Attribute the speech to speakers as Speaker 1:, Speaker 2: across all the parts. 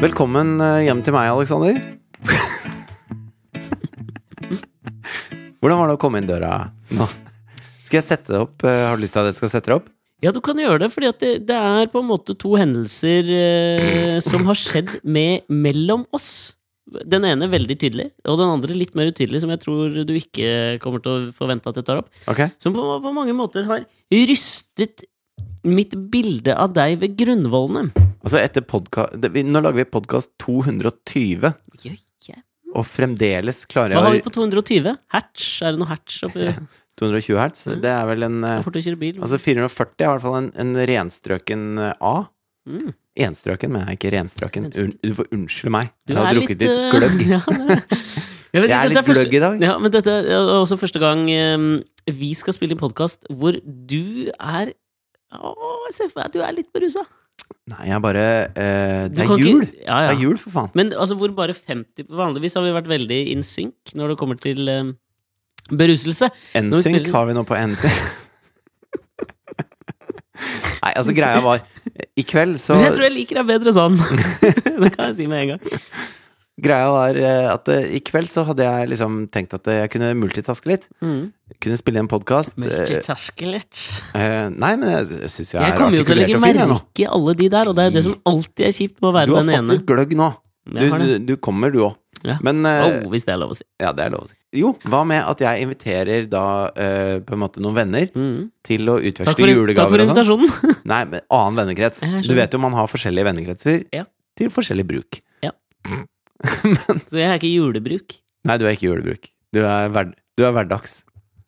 Speaker 1: Velkommen eh, hjem til meg, Aleksander. Hvordan var det å komme inn døra nå? Skal jeg sette det opp? Eh, Har du lyst til at jeg skal sette det opp?
Speaker 2: Ja, du kan gjøre det, fordi at det, det er på en måte to hendelser eh, som har skjedd med, mellom oss. Den ene veldig tydelig, og den andre litt mer utydelig, som jeg tror du ikke kommer til å forvente at jeg tar opp.
Speaker 1: Ok.
Speaker 2: Som på, på mange måter har rystet mitt bilde av deg ved grunnvollene.
Speaker 1: Altså etter podka... det- vi- Nå lager vi podkast 220,
Speaker 2: Jøye.
Speaker 1: og fremdeles klarer
Speaker 2: Hva har vi
Speaker 1: jeg å
Speaker 2: på 220? Hertz? Er det noe hertz oppi?
Speaker 1: 220 hertz. Det er vel en eh,
Speaker 2: Hvor fort du kjører bil?
Speaker 1: Altså 440 er i hvert fall en, en renstrøken eh, A.
Speaker 2: Mm.
Speaker 1: Enstrøken, men jeg er ikke renstrøken. Un,
Speaker 2: Renstrøken.
Speaker 1: du får unnskylde meg.
Speaker 2: Du
Speaker 1: Jeg har
Speaker 2: er
Speaker 1: drukket
Speaker 2: litt,
Speaker 1: litt
Speaker 2: eh,
Speaker 1: gløgg.
Speaker 2: ja, det- Jeg vet
Speaker 1: Jeg
Speaker 2: ikke,
Speaker 1: er
Speaker 2: dette
Speaker 1: litt gløgg i dag.
Speaker 2: Ja, men dette er også første gang eh, vi skal spille en podkast hvor du er Å, jeg ser for meg at du er litt berusa.
Speaker 1: Nei, jeg bare eh,
Speaker 2: Du
Speaker 1: Det
Speaker 2: kan
Speaker 1: er jul!
Speaker 2: Ikke, ja,
Speaker 1: Det er
Speaker 2: ja.
Speaker 1: jul, for faen.
Speaker 2: Men altså, hvor bare 50 Vanligvis har vi vært veldig in sync når det kommer til eh, beruselse. Når vi
Speaker 1: NSYNC
Speaker 2: spiller-
Speaker 1: har vi nå på NSYNC. Nei, altså greia var I kveld så
Speaker 2: Men jeg tror jeg liker deg bedre sånn. det kan jeg si med en gang.
Speaker 1: Greia var eh, at eh, i kveld så hadde jeg liksom tenkt at eh, jeg kunne multitaske litt.
Speaker 2: Mm.
Speaker 1: Kunne spille en podkast.
Speaker 2: Multitaske litt.
Speaker 1: Nei, men jeg s- syns jeg,
Speaker 2: Jeg
Speaker 1: er
Speaker 2: kommer jo til å
Speaker 1: artikulert
Speaker 2: legge
Speaker 1: og fin, jeg nå.
Speaker 2: merke i alle de der, og det er jo det som alltid er kjipt med å
Speaker 1: Du
Speaker 2: være
Speaker 1: har
Speaker 2: den
Speaker 1: fått
Speaker 2: ene.
Speaker 1: litt gløgg nå. Du,
Speaker 2: Jeg har
Speaker 1: du,
Speaker 2: det.
Speaker 1: du kommer, du òg.
Speaker 2: Ja.
Speaker 1: Men eh,
Speaker 2: Å, hvis det er lov å si.
Speaker 1: Ja, det er lov å si. Jo, hva med at jeg inviterer da eh, på en måte noen venner
Speaker 2: Mm.
Speaker 1: til å
Speaker 2: Takk,
Speaker 1: utveksle
Speaker 2: for, takk for
Speaker 1: julegaver og sånn?
Speaker 2: invitasjonen.
Speaker 1: Nei, men annen vennekrets.
Speaker 2: Jeg skjønner.
Speaker 1: Du vet jo man har forskjellige vennekretser
Speaker 2: Ja.
Speaker 1: til forskjellig bruk.
Speaker 2: Så jeg er ikke julebruk.
Speaker 1: Nei, du er ikke julebruk. Du er, hver, du er hverdags.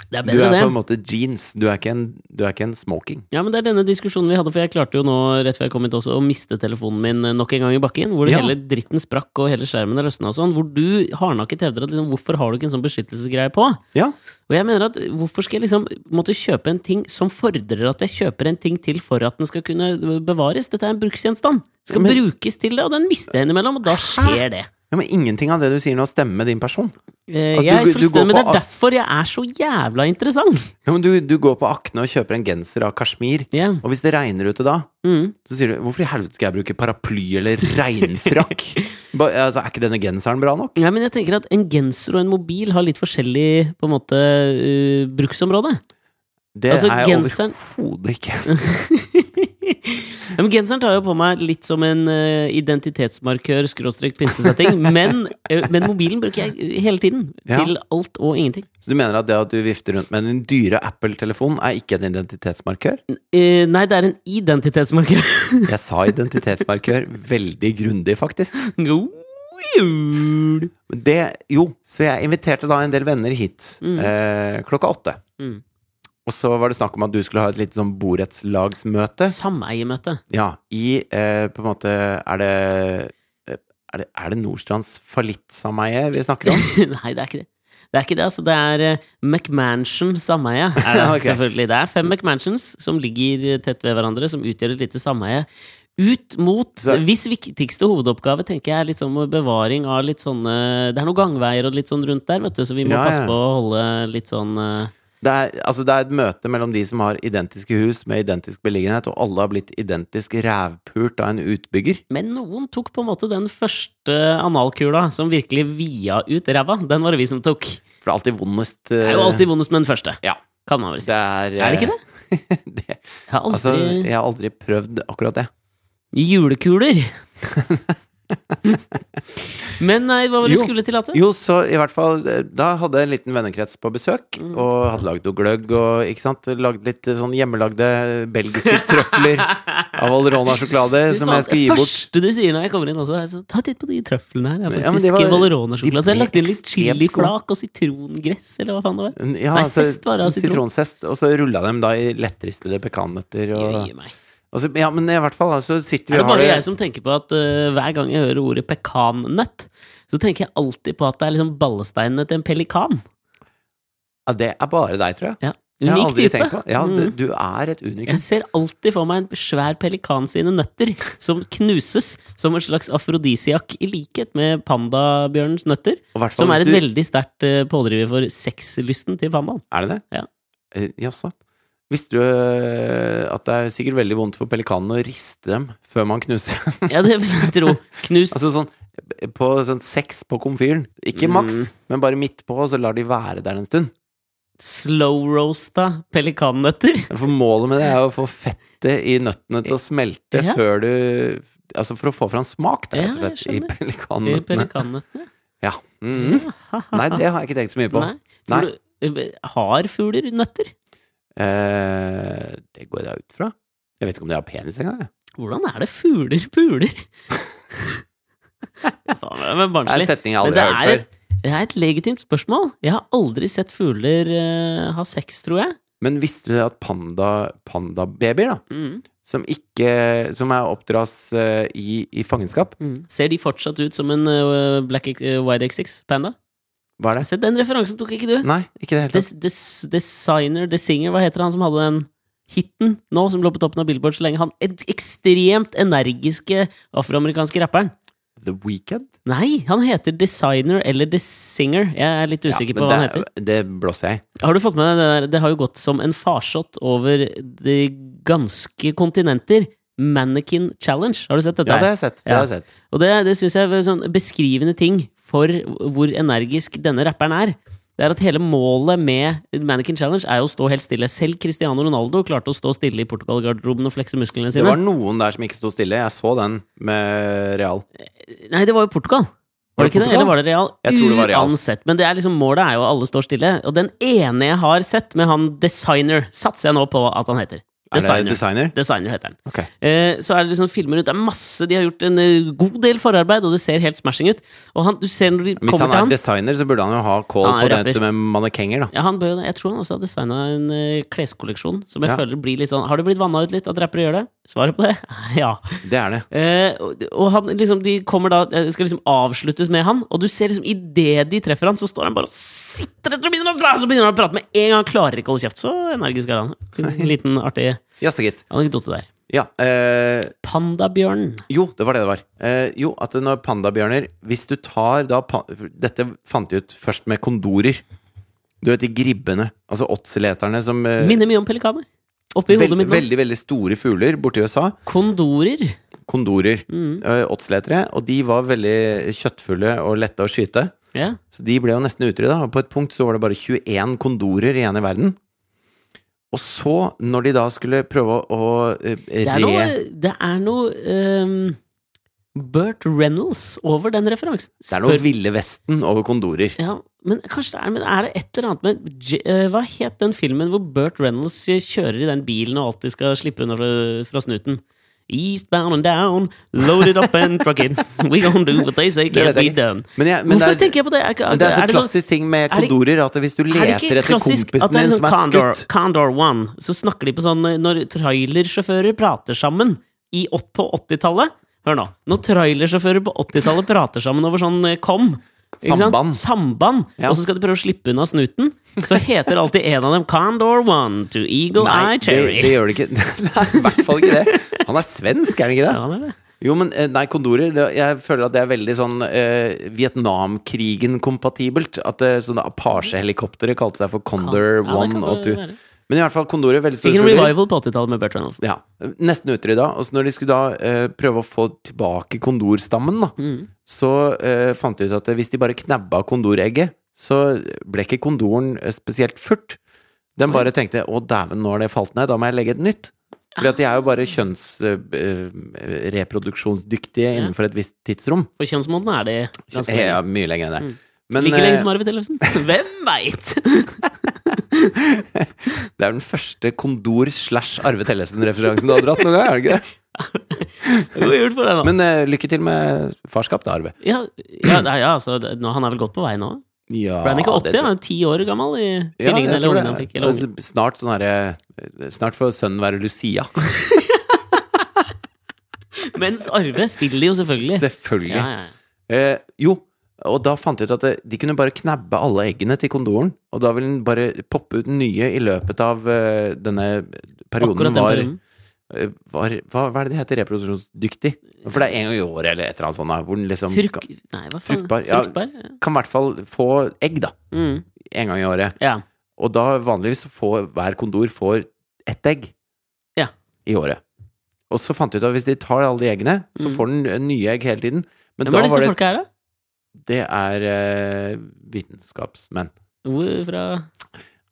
Speaker 2: Det er
Speaker 1: Du er
Speaker 2: bedre,
Speaker 1: på
Speaker 2: det.
Speaker 1: en måte jeans. Du er ikke en, du er ikke en smoking.
Speaker 2: Ja, men Det er denne diskusjonen vi hadde, for jeg klarte jo nå rett før jeg kom hit også å miste telefonen min eh, nok en gang i bakken. Hvor
Speaker 1: Ja.
Speaker 2: hele dritten sprakk og hele skjermen løsna og sånn. Hvor du hardnakket hevder at liksom, hvorfor har du ikke en sånn beskyttelsesgreie på?
Speaker 1: Ja.
Speaker 2: Og jeg mener at hvorfor skal jeg liksom måtte kjøpe en ting som fordrer at jeg kjøper en ting til for at den skal kunne bevares? Dette er en bruksgjenstand. Skal
Speaker 1: Men-
Speaker 2: brukes til det, og den mister jeg innimellom, og da skjer det.
Speaker 1: ja, men ingenting av det du sier nå, stemmer med din person.
Speaker 2: Eh,
Speaker 1: Altså, du-
Speaker 2: jeg er
Speaker 1: du går
Speaker 2: fullstendig, men
Speaker 1: på
Speaker 2: det er
Speaker 1: a-
Speaker 2: derfor jeg er så jævla interessant!
Speaker 1: Ja, men du, du går på Akne og kjøper en genser av kasjmir,
Speaker 2: Ja.
Speaker 1: og hvis det regner ute da,
Speaker 2: Mm.
Speaker 1: så sier du 'hvorfor i helvete skal jeg bruke paraply eller regnfrakk'? Ba, altså, er ikke denne genseren bra nok?
Speaker 2: Ja, men jeg tenker at En genser og en mobil har litt forskjellig på en måte, eh, bruksområde.
Speaker 1: Det
Speaker 2: Altså,
Speaker 1: er jeg
Speaker 2: genseren-
Speaker 1: overhodet ikke.
Speaker 2: Ja, men Genseren tar jo på meg litt som en eh, identitetsmarkør, skråstrek pyntesetting, men, eh, men mobilen bruker jeg hele tiden.
Speaker 1: Ja.
Speaker 2: Til alt og ingenting.
Speaker 1: Så du mener at det at du vifter rundt med en dyre Apple-telefon, er ikke en identitetsmarkør?
Speaker 2: Eh, nei, det er en identitetsmarkør.
Speaker 1: Jeg sa identitetsmarkør veldig grundig, faktisk.
Speaker 2: God jul!
Speaker 1: Men Det, jo, så jeg inviterte da en del venner hit
Speaker 2: Mm.
Speaker 1: eh, klokka åtte.
Speaker 2: Mm.
Speaker 1: Og så var det snakk om at du skulle ha et lite sånn borettslagsmøte.
Speaker 2: Sameiemøte.
Speaker 1: Ja, i eh, på en måte Er det eh, er det, er det Nordstrands fallittsameie vi snakker om?
Speaker 2: Nei, det er ikke det. Det er ikke det, altså. Det er eh, McMansion sameie. Er det,
Speaker 1: Ja, ok.
Speaker 2: selvfølgelig. Det er fem McMansions som ligger eh, tett ved hverandre, som utgjør et lite sameie. Ut mot
Speaker 1: Så-
Speaker 2: Hvis viktigste hovedoppgave tenker jeg er litt sånn bevaring av litt sånne Det er noen gangveier og litt sånn rundt der, vet du, så vi må
Speaker 1: Ja, ja.
Speaker 2: passe på å holde litt sånn eh,
Speaker 1: Det er, altså det er et møte mellom de som har identiske hus med identisk beliggenhet, og alle har blitt identisk rævpult av en utbygger.
Speaker 2: Men noen tok på en måte den første analkula som virkelig via ut ræva. Den var det vi som tok.
Speaker 1: For det er alltid vondest eh,
Speaker 2: Det er jo alltid vondest med den første, kan man vel si.
Speaker 1: det er,
Speaker 2: Er det ikke
Speaker 1: det? det
Speaker 2: Jeg har aldri
Speaker 1: altså, jeg har aldri prøvd akkurat det.
Speaker 2: Julekuler. Men nei, hva var det du
Speaker 1: Jo.
Speaker 2: skulle til, Atte?
Speaker 1: Jo, så i hvert fall eh, Da hadde jeg en liten vennekrets på besøk,
Speaker 2: Mm.
Speaker 1: og hadde lagd noe gløgg og ikke sant, lagd litt eh, sånn hjemmelagde belgiske trøfler av Valrona-sjokolade
Speaker 2: Fy
Speaker 1: som
Speaker 2: faen,
Speaker 1: jeg skulle gi
Speaker 2: Det
Speaker 1: bort.
Speaker 2: første du sier når jeg kommer inn også, er så, ta titt på de trøflene her. Det
Speaker 1: Men-
Speaker 2: er
Speaker 1: ja, men
Speaker 2: faktisk
Speaker 1: det var-
Speaker 2: Valerona-sjokolade. Så jeg
Speaker 1: de
Speaker 2: har lagt inn litt
Speaker 1: ble
Speaker 2: chiliflak og sitrongress, eller hva faen det var.
Speaker 1: Ja,
Speaker 2: Nei,
Speaker 1: altså,
Speaker 2: sest var det av sitron.
Speaker 1: sitronsest. Og så rulla dem da i lettristede pekannøtter og
Speaker 2: Jøye meg.
Speaker 1: Og så- ja, men i hvert fall, så sitter vi
Speaker 2: Er det
Speaker 1: og har
Speaker 2: bare
Speaker 1: det
Speaker 2: jeg som tenker på at eh, hver gang jeg hører ordet pekannøtt, så tenker jeg alltid på at det er liksom ballesteinene til en pelikan.
Speaker 1: ja, Det er bare deg, tror jeg.
Speaker 2: Ja.
Speaker 1: Jeg har
Speaker 2: Unik
Speaker 1: aldri
Speaker 2: type.
Speaker 1: tenkt på Ja, du,
Speaker 2: Mm.
Speaker 1: du er et unikum.
Speaker 2: Jeg ser alltid for meg en svær pelikan sine nøtter som knuses som en slags afrodisiak, i likhet med pandabjørnens nøtter,
Speaker 1: Og hvertfall
Speaker 2: som er
Speaker 1: hvis
Speaker 2: et
Speaker 1: du-
Speaker 2: veldig sterkt eh, pådriver for sexlysten til pandaen.
Speaker 1: Er det det?
Speaker 2: Ja.
Speaker 1: Eh, Jaså. Visste du eh, at det er sikkert veldig vondt for pelikanene å riste dem før man knuser dem?
Speaker 2: Ja, det vil jeg tro. Knust.
Speaker 1: altså sånn på sånn seks på komfyren. Ikke
Speaker 2: Mm.
Speaker 1: maks, men bare midt på, og så lar de være der en stund.
Speaker 2: Slow-roasta pelikannøtter.
Speaker 1: For målet med det er å få fettet i nøttene til å smelte
Speaker 2: Ja.
Speaker 1: før du Altså for å få fram smak, da,
Speaker 2: Ja,
Speaker 1: rett og slett, i
Speaker 2: jeg skjønner. I
Speaker 1: pelikanene.
Speaker 2: Eh, pelikannøttene.
Speaker 1: Ja. Mhm. Nei, det har jeg ikke tenkt så mye på.
Speaker 2: Nei. Tror du, eh, har fugler nøtter?
Speaker 1: Eh, det går jeg da ut fra. Jeg vet ikke om de har penis engang. jeg.
Speaker 2: Hvordan er det fugler puler? Faen, det var
Speaker 1: Det er en
Speaker 2: barnslig.
Speaker 1: setning jeg
Speaker 2: Men
Speaker 1: aldri
Speaker 2: det
Speaker 1: har
Speaker 2: er,
Speaker 1: hørt før.
Speaker 2: et, det er et legitimt spørsmål. Jeg har aldri sett fugler eh, ha sex, tror jeg.
Speaker 1: Men visste du at panda pandababyer, da, som ikke Som er oppdras eh, i, i fangenskap
Speaker 2: Mm. Ser de fortsatt ut som en eh, black X, eh, white X6 panda?
Speaker 1: Hva er det?
Speaker 2: Se, den referansen tok ikke du.
Speaker 1: Nei, ikke i det hele tatt.
Speaker 2: Des, des, designer, desinger, hva heter han som hadde den hiten nå, som lå på toppen av Billboard så lenge? Han et ekstremt energiske afroamerikanske rapperen.
Speaker 1: The Weekend?
Speaker 2: Nei, han heter designer eller desinger. Jeg er litt usikker på hva han heter.
Speaker 1: det, det blåser jeg i.
Speaker 2: Har du fått med deg det der? Det har jo gått som en farsott over de ganske kontinenter. Mannequin Challenge, har du sett dette?
Speaker 1: Ja, det har
Speaker 2: her?
Speaker 1: jeg sett. Det
Speaker 2: Ja.
Speaker 1: har jeg sett.
Speaker 2: Og det, det syns jeg er sånn beskrivende ting for hvor energisk denne rapperen er. Det er at Hele målet med Mannequin Challenge er jo å stå helt stille. Selv Cristiano Ronaldo klarte å stå stille i Portugal-garderoben og flekse musklene
Speaker 1: Det
Speaker 2: sine.
Speaker 1: var noen der som ikke sto stille. Jeg så den med Real.
Speaker 2: Nei, det var jo Portugal.
Speaker 1: Var
Speaker 2: Var
Speaker 1: det
Speaker 2: det ikke det?
Speaker 1: Portugal?
Speaker 2: Eller var det Real?
Speaker 1: Jeg tror det var Real.
Speaker 2: Uansett. Men det er liksom, målet er jo at alle står stille. Og den ene jeg har sett med han designer, satser jeg nå på at han heter.
Speaker 1: Er det
Speaker 2: Designer.
Speaker 1: designer?
Speaker 2: Designer heter han.
Speaker 1: Ok.
Speaker 2: Eh, så er det liksom filmer ut. Det er masse, De har gjort en eh, god del forarbeid, og det ser helt smashing ut. Og han, du ser når de
Speaker 1: Hvis
Speaker 2: kommer
Speaker 1: han
Speaker 2: til
Speaker 1: er
Speaker 2: ham
Speaker 1: designer, så burde han jo ha call
Speaker 2: Han er
Speaker 1: på dette
Speaker 2: rapper.
Speaker 1: med mannekenger, da.
Speaker 2: ja, han bør, jo det. Jeg tror han også har designa en eh, kleskolleksjon som jeg
Speaker 1: Ja.
Speaker 2: føler blir litt sånn Har det blitt vanna ut litt at rappere gjør det? Svaret på det? ja.
Speaker 1: Det er det.
Speaker 2: Eh, og og han, liksom, de kommer da eh, skal liksom avsluttes med han, og du ser liksom idet de treffer han, så står han bare og sitter etter og begynner å, slå, så begynner han å prate med en gang. Han klarer ikke å holde kjeft. Så energisk er han. En liten artig
Speaker 1: Jaså, gitt.
Speaker 2: anekdote der.
Speaker 1: Ja. Eh,
Speaker 2: Pandabjørnen.
Speaker 1: Jo, det var det det var. Eh, jo, at når pandabjørner Hvis du tar da pa- Dette fant de ut først med kondorer. Du vet de gribbene, altså åtseleterne som eh,
Speaker 2: Minner mye om pelikaner. Oppi
Speaker 1: vel-
Speaker 2: hodet mitt nå.
Speaker 1: Veldig, veldig store fugler borti USA.
Speaker 2: Kondorer.
Speaker 1: Kondorer.
Speaker 2: Mm.
Speaker 1: eh, Åtseletere. Og de var veldig kjøttfulle og lette å skyte.
Speaker 2: Ja.
Speaker 1: Så de ble jo nesten utrydda. Og på et punkt så var det bare 21 kondorer igjen i verden. Og så, når de da skulle prøve å eh,
Speaker 2: Det er
Speaker 1: re...
Speaker 2: noe, det er noe ehm, Burt Reynolds over den referansen.
Speaker 1: Det er noe
Speaker 2: Spør-
Speaker 1: Ville Vesten over kondorer.
Speaker 2: ja, men kanskje det er, men er det et eller annet med J- eh, Hva het den filmen hvor Burt Reynolds kjører i den bilen og alltid skal slippe unna fra, fra snuten? Eastbound and down, loaded up and trucking. We gonna do what they say
Speaker 1: Det vet
Speaker 2: can't be
Speaker 1: jeg ikke.
Speaker 2: done.
Speaker 1: Men jeg, men det
Speaker 2: Hvorfor
Speaker 1: er,
Speaker 2: tenker jeg på det? Er, ikke-
Speaker 1: Men det er så
Speaker 2: er det noe-
Speaker 1: klassisk ting med
Speaker 2: er det-
Speaker 1: kondorer at hvis du
Speaker 2: er det
Speaker 1: leter
Speaker 2: ikke
Speaker 1: etter
Speaker 2: klassisk
Speaker 1: kompisen
Speaker 2: at det
Speaker 1: din
Speaker 2: er
Speaker 1: som
Speaker 2: sånn
Speaker 1: er
Speaker 2: Condor,
Speaker 1: skutt
Speaker 2: Condor One, så snakker de på sånn eh, når trailersjåfører prater sammen i opp på 80-tallet. Hør nå. Når trailersjåfører på 80-tallet prater sammen over sånn eh, kom ikke sant?
Speaker 1: Samband.
Speaker 2: Samband.
Speaker 1: Ja.
Speaker 2: Og så skal de prøve å slippe unna snuten. Så heter alltid en av dem Condor One to Eagle Eye
Speaker 1: det,
Speaker 2: Cherry.
Speaker 1: det gjør det ikke. Nei, i hvert fall ikke det. Han er svensk, er han ikke
Speaker 2: Ja,
Speaker 1: det?
Speaker 2: det er det.
Speaker 1: Jo, men eh, nei, kondorer det, Jeg føler at det er veldig sånn eh, Vietnamkrigen-kompatibelt. At eh, sånne Apache-helikoptre kalte seg for Condor
Speaker 2: Ja, det kan
Speaker 1: One
Speaker 2: det
Speaker 1: og Two.
Speaker 2: være.
Speaker 1: Men i hvert fall kondorer. Veldig
Speaker 2: Fikk
Speaker 1: store
Speaker 2: en
Speaker 1: fugler.
Speaker 2: revival på 80-tallet med Bert Reynolds.
Speaker 1: Ja, Nesten utrydda. Og så når de skulle da eh, prøve å få tilbake kondorstammen, da,
Speaker 2: Mm.
Speaker 1: så eh, fant de ut at hvis de bare knabba kondoregget, så ble ikke kondoren eh, spesielt furt. Den bare tenkte 'Å, dæven, nå har det falt ned. Da må jeg legge et nytt'. For at de er jo bare kjønnsreproduksjonsdyktige innenfor et visst tidsrom.
Speaker 2: For kjønnsmåten er det ganske Mm.
Speaker 1: Ja, mye lenger enn det. Men
Speaker 2: Like lenge
Speaker 1: eh,
Speaker 2: som Arvid Ellefsen. Hvem veit?
Speaker 1: det er den første kondor-slash-Arve Tellesen-referansen du har dratt noen gang, er det ikke det?
Speaker 2: God jul for deg, da.
Speaker 1: Men eh, lykke til med farskap, da, Arve.
Speaker 2: Ja, ja, det er- ja altså, det- nå, han er vel godt på vei nå?
Speaker 1: Ja,
Speaker 2: Ble han ikke 80?
Speaker 1: det tror
Speaker 2: Han er jo ti år gammel i
Speaker 1: Ja,
Speaker 2: tvillingene
Speaker 1: jeg
Speaker 2: eller
Speaker 1: tror
Speaker 2: ungene han
Speaker 1: det.
Speaker 2: fikk. Eller ungen.
Speaker 1: Og Snart, sånn herre- snart får sønnen være Lucia.
Speaker 2: Mens Arve spiller jo selvfølgelig.
Speaker 1: Selvfølgelig.
Speaker 2: Ja, ja, ja.
Speaker 1: Eh, jo, og da fant jeg ut at det- de kunne bare knabbe alle eggene til kondoren, og da ville den bare poppe ut nye i løpet av eh, denne perioden.
Speaker 2: Akkurat den
Speaker 1: var,
Speaker 2: perioden.
Speaker 1: eh, var, hva, hva er det det heter? Reproduksjonsdyktig? For det er en gang i året eller et eller annet sånt, da, hvor den liksom
Speaker 2: Fruk...
Speaker 1: kan,
Speaker 2: Nei, hva faen?
Speaker 1: Fruktbar, ja.
Speaker 2: Fruktbar, ja.
Speaker 1: kan i hvert fall få egg, da.
Speaker 2: Mm.
Speaker 1: En gang i året.
Speaker 2: ja.
Speaker 1: Og da vanligvis så får hver kondor får ett egg
Speaker 2: Ja.
Speaker 1: i året. Og så fant de ut at hvis de tar alle de eggene, så
Speaker 2: Mm.
Speaker 1: får den eh, nye egg hele tiden. Men
Speaker 2: Hvem
Speaker 1: da
Speaker 2: er disse
Speaker 1: var det
Speaker 2: folka her, da?
Speaker 1: Det er eh, vitenskapsmenn.
Speaker 2: Hvor fra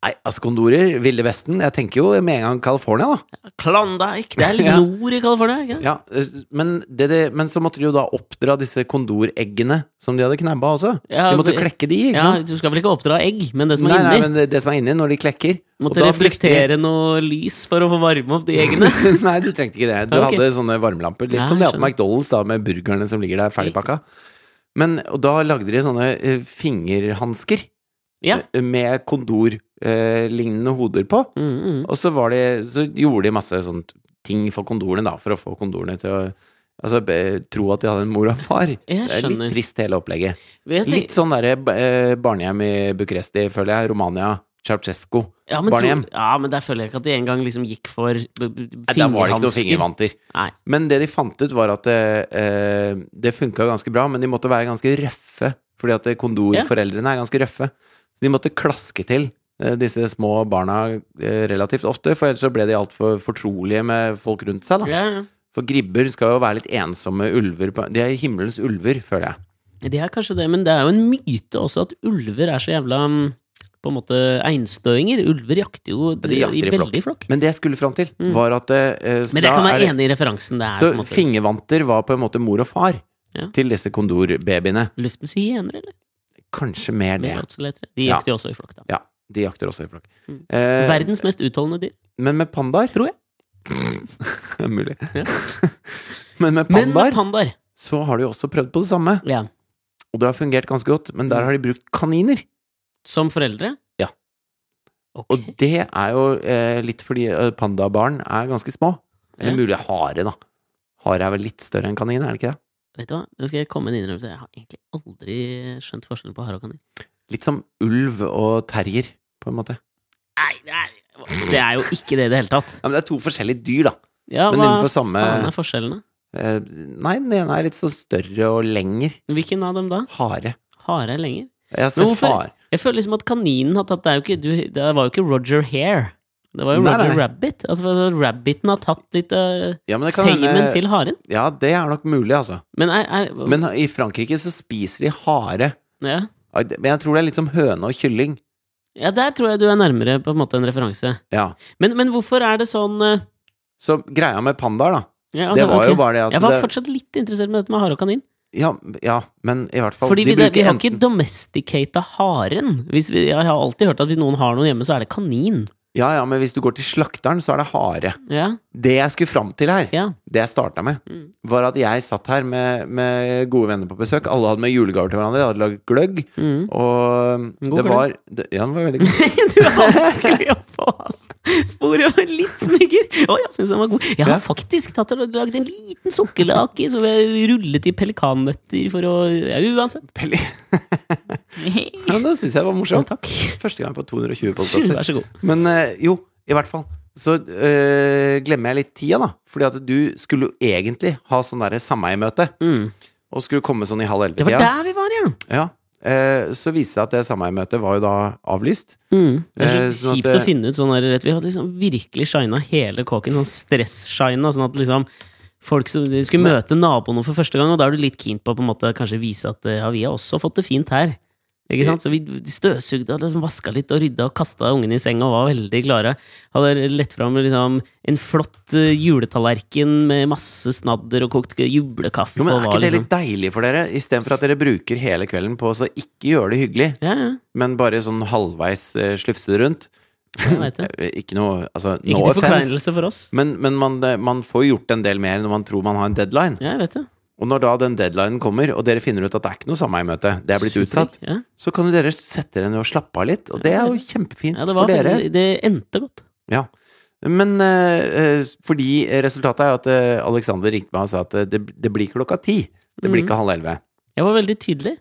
Speaker 1: Nei, altså kondorer, Ville Vesten. Jeg tenker jo med en gang California, da.
Speaker 2: Klondyke! Det er litt
Speaker 1: Ja.
Speaker 2: nord i California, ikke sant?
Speaker 1: Ja, eh, men, det, det, men så måtte de jo da oppdra disse kondoreggene som de hadde knabba også.
Speaker 2: Ja,
Speaker 1: De måtte
Speaker 2: vi-
Speaker 1: jo klekke de, ikke
Speaker 2: Ja,
Speaker 1: sant?
Speaker 2: du skal vel ikke oppdra egg, men det som er
Speaker 1: nei, nei,
Speaker 2: inni.
Speaker 1: men det, det som er inni når de klekker og
Speaker 2: Måtte
Speaker 1: da brukte
Speaker 2: reflektere noe lys for å få varme opp de eggene.
Speaker 1: de- Nei, du trengte ikke det. Du
Speaker 2: Ok.
Speaker 1: hadde sånne varmelamper. Litt
Speaker 2: Ja,
Speaker 1: som de
Speaker 2: jeg
Speaker 1: hadde på
Speaker 2: skjønner.
Speaker 1: McDonald's, da, med burgerne som ligger der ferdigpakka. Men og da lagde de sånne eh, fingerhansker
Speaker 2: Ja.
Speaker 1: eh, med kondorlignende hoder på.
Speaker 2: Mm, mm.
Speaker 1: Og så, var de, så gjorde de masse sånt ting for kondorene, da, for å få kondorene til å altså, be, tro at de hadde en mor og en far.
Speaker 2: Jeg
Speaker 1: Det er litt
Speaker 2: skjønner.
Speaker 1: trist, hele opplegget.
Speaker 2: Vet jeg-
Speaker 1: Litt sånn derre eh, barnehjem i Bucuresti, føler jeg. Romania. Ceaucescu.
Speaker 2: ja, men
Speaker 1: barnehjem.
Speaker 2: tror- Ja, men der føler jeg ikke at de engang liksom gikk for b- b-
Speaker 1: Nei, Der var det ikke noen
Speaker 2: fingerhansker.
Speaker 1: fingervanter.
Speaker 2: Nei.
Speaker 1: Men det de fant ut, var at det, eh, det funka ganske bra, men de måtte være ganske røffe. Fordi at kondorforeldrene er ganske røffe. Så de måtte klaske til eh, disse små barna eh, relativt ofte, for ellers så ble de altfor fortrolige med folk rundt seg. da
Speaker 2: Ja, ja.
Speaker 1: For gribber skal jo være litt ensomme ulver. På, de er himmelens ulver, føler jeg.
Speaker 2: Det er kanskje det, men det er jo en myte også at ulver er så jævla mm, på en måte einstøinger. Ulver jakter jo
Speaker 1: de jakter i flokk.
Speaker 2: veldig flokk.
Speaker 1: Men det jeg skulle fram til, var at eh, så
Speaker 2: Mm. Men dere
Speaker 1: da
Speaker 2: kan
Speaker 1: er
Speaker 2: være
Speaker 1: det-
Speaker 2: enig i referansen. Det er på en
Speaker 1: Så
Speaker 2: måte
Speaker 1: fingervanter var på en måte mor og far
Speaker 2: Ja.
Speaker 1: til disse kondorbabyene.
Speaker 2: luftens hyener, eller?
Speaker 1: Kanskje mer det.
Speaker 2: Mer åtseletere. De
Speaker 1: Ja.
Speaker 2: jakter jo også i flokk, da.
Speaker 1: Ja, de jakter også i flokk.
Speaker 2: Mm.
Speaker 1: Eh,
Speaker 2: Verdens mest utholdende dyr.
Speaker 1: men med pandaer
Speaker 2: Tror jeg.
Speaker 1: Det er mulig.
Speaker 2: Ja.
Speaker 1: men med
Speaker 2: Men med
Speaker 1: pandaer
Speaker 2: pandaer.
Speaker 1: så har de jo også prøvd på det samme,
Speaker 2: Ja.
Speaker 1: og det har fungert ganske godt, men
Speaker 2: Mm.
Speaker 1: der har de brukt kaniner.
Speaker 2: Som foreldre?
Speaker 1: Ja.
Speaker 2: Ok.
Speaker 1: Og det er jo eh, litt fordi eh, pandabarn er ganske små. Eller
Speaker 2: Ja.
Speaker 1: mulig hare, da. Hare er vel litt større enn kanin, er det ikke det?
Speaker 2: Vet du hva, nå skal jeg komme med en innrømmelse. Jeg har egentlig aldri skjønt forskjellen på hare og kanin.
Speaker 1: Litt som ulv og terrier, på en måte.
Speaker 2: Nei, det er, det er jo ikke det i det hele tatt.
Speaker 1: Ja, men det er to forskjellige dyr, da.
Speaker 2: Ja,
Speaker 1: Men
Speaker 2: hva
Speaker 1: innenfor samme
Speaker 2: faen er forskjellene?
Speaker 1: eh, Nei, den ene er litt sånn større og lenger.
Speaker 2: Hvilken av dem da?
Speaker 1: Hare.
Speaker 2: Hare er lenger?
Speaker 1: Jeg
Speaker 2: Men
Speaker 1: ser
Speaker 2: hvorfor-
Speaker 1: far.
Speaker 2: Jeg føler liksom at kaninen har tatt Det, er jo ikke, du, det var jo ikke Roger Hare. Det var jo
Speaker 1: Nei,
Speaker 2: Roger
Speaker 1: nei.
Speaker 2: Rabbit. Altså, Rabbiten har tatt litt av
Speaker 1: Ja, men det kan
Speaker 2: famen
Speaker 1: hende
Speaker 2: til haren.
Speaker 1: Ja, det er nok mulig, altså.
Speaker 2: Men er, er
Speaker 1: Men i Frankrike så spiser de hare.
Speaker 2: ja.
Speaker 1: Ai, det- Men jeg tror det er litt som høne og kylling.
Speaker 2: ja, der tror jeg du er nærmere på en måte en referanse.
Speaker 1: Ja.
Speaker 2: Men, men hvorfor er det sånn eh,
Speaker 1: Så greia med pandaer, da,
Speaker 2: ja, altså,
Speaker 1: det
Speaker 2: ok,
Speaker 1: var jo
Speaker 2: ok.
Speaker 1: bare det at
Speaker 2: Jeg var
Speaker 1: det,
Speaker 2: fortsatt litt interessert med dette med hare og kanin.
Speaker 1: ja, ja, men i hvert fall de
Speaker 2: Fordi vi,
Speaker 1: bruker
Speaker 2: det, vi har
Speaker 1: enten-
Speaker 2: ikke domesticata haren. Hvis vi, jeg har alltid hørt at hvis noen har noe hjemme, så er det kanin.
Speaker 1: Ja, ja, men hvis du går til slakteren, så er det hare.
Speaker 2: Ja,
Speaker 1: Det jeg skulle fram til her,
Speaker 2: ja.
Speaker 1: det jeg starta med,
Speaker 2: Mm.
Speaker 1: var at jeg satt her med, med gode venner på besøk. Alle hadde med julegaver til hverandre, de hadde lagd gløgg.
Speaker 2: Mm.
Speaker 1: Og
Speaker 2: God
Speaker 1: det
Speaker 2: gløgg.
Speaker 1: var det, Ja, den var veldig god.
Speaker 2: du er vanskelig å få altså. sporet av en litt smyger. Å, jeg syns den var god. Jeg har
Speaker 1: Ja.
Speaker 2: faktisk tatt og lagd en liten sukkerlake som jeg rullet i pelikannøtter for å Ja, uansett.
Speaker 1: Pelli. Ja, det syns jeg var
Speaker 2: Ja,
Speaker 1: morsomt.
Speaker 2: takk.
Speaker 1: Første gang på 220 podkaster.
Speaker 2: Vær så god.
Speaker 1: Men eh, jo, i hvert fall. Så eh, glemmer jeg litt tida, da. Fordi at du skulle jo egentlig ha sånn derre sameiemøte.
Speaker 2: Mm.
Speaker 1: Og skulle komme sånn i halv
Speaker 2: Det var
Speaker 1: elleve-tida.
Speaker 2: der vi var, ja.
Speaker 1: Ja. Eh, så viste det seg at det sameiemøtet var jo da avlyst.
Speaker 2: Mm. Det
Speaker 1: Eh,
Speaker 2: er så
Speaker 1: sånn at
Speaker 2: kjipt
Speaker 1: det-
Speaker 2: å finne ut sånn der rett. Vi hadde liksom virkelig shina hele kåken, sånn stress-shina, sånn at liksom folk som de skulle
Speaker 1: Men-
Speaker 2: møte naboene for første gang, og da er du litt keen på å på en måte kanskje vise at eh, ja, vi har også fått det fint her. Ikke sant? Så vi støvsugde og liksom vaska litt og rydda og kasta ungene i senga og var veldig klare. Hadde lett fram liksom, en flott eh, juletallerken med masse snadder og kokt julekaffe.
Speaker 1: Jo, men
Speaker 2: og
Speaker 1: Er
Speaker 2: var
Speaker 1: ikke det
Speaker 2: liksom-
Speaker 1: litt deilig for dere? Istedenfor at dere bruker hele kvelden på å så ikke gjøre det hyggelig,
Speaker 2: Ja, ja.
Speaker 1: men bare sånn halvveis eh, slufse det rundt.
Speaker 2: Jeg vet det.
Speaker 1: Eh, Ikke noe altså,
Speaker 2: Ikke
Speaker 1: no
Speaker 2: til
Speaker 1: offense.
Speaker 2: forkleinelse for oss.
Speaker 1: Men, men man, eh, man får gjort en del mer når man tror man har en deadline.
Speaker 2: Ja, jeg vet det.
Speaker 1: Og når da den deadlinen kommer, og dere finner ut at det er ikke noe sameiemøte, det er blitt utsatt,
Speaker 2: Ja.
Speaker 1: så kan jo dere sette dere ned og slappe av litt, og det er jo kjempefint
Speaker 2: Ja, det,
Speaker 1: for
Speaker 2: var,
Speaker 1: dere.
Speaker 2: fin- det endte godt.
Speaker 1: Ja. Men eh, eh, fordi resultatet er jo at eh, Alexander ringte meg og sa at eh, det, det blir klokka ti. Det blir
Speaker 2: Mhm.
Speaker 1: ikke halv elleve.
Speaker 2: Jeg var veldig tydelig.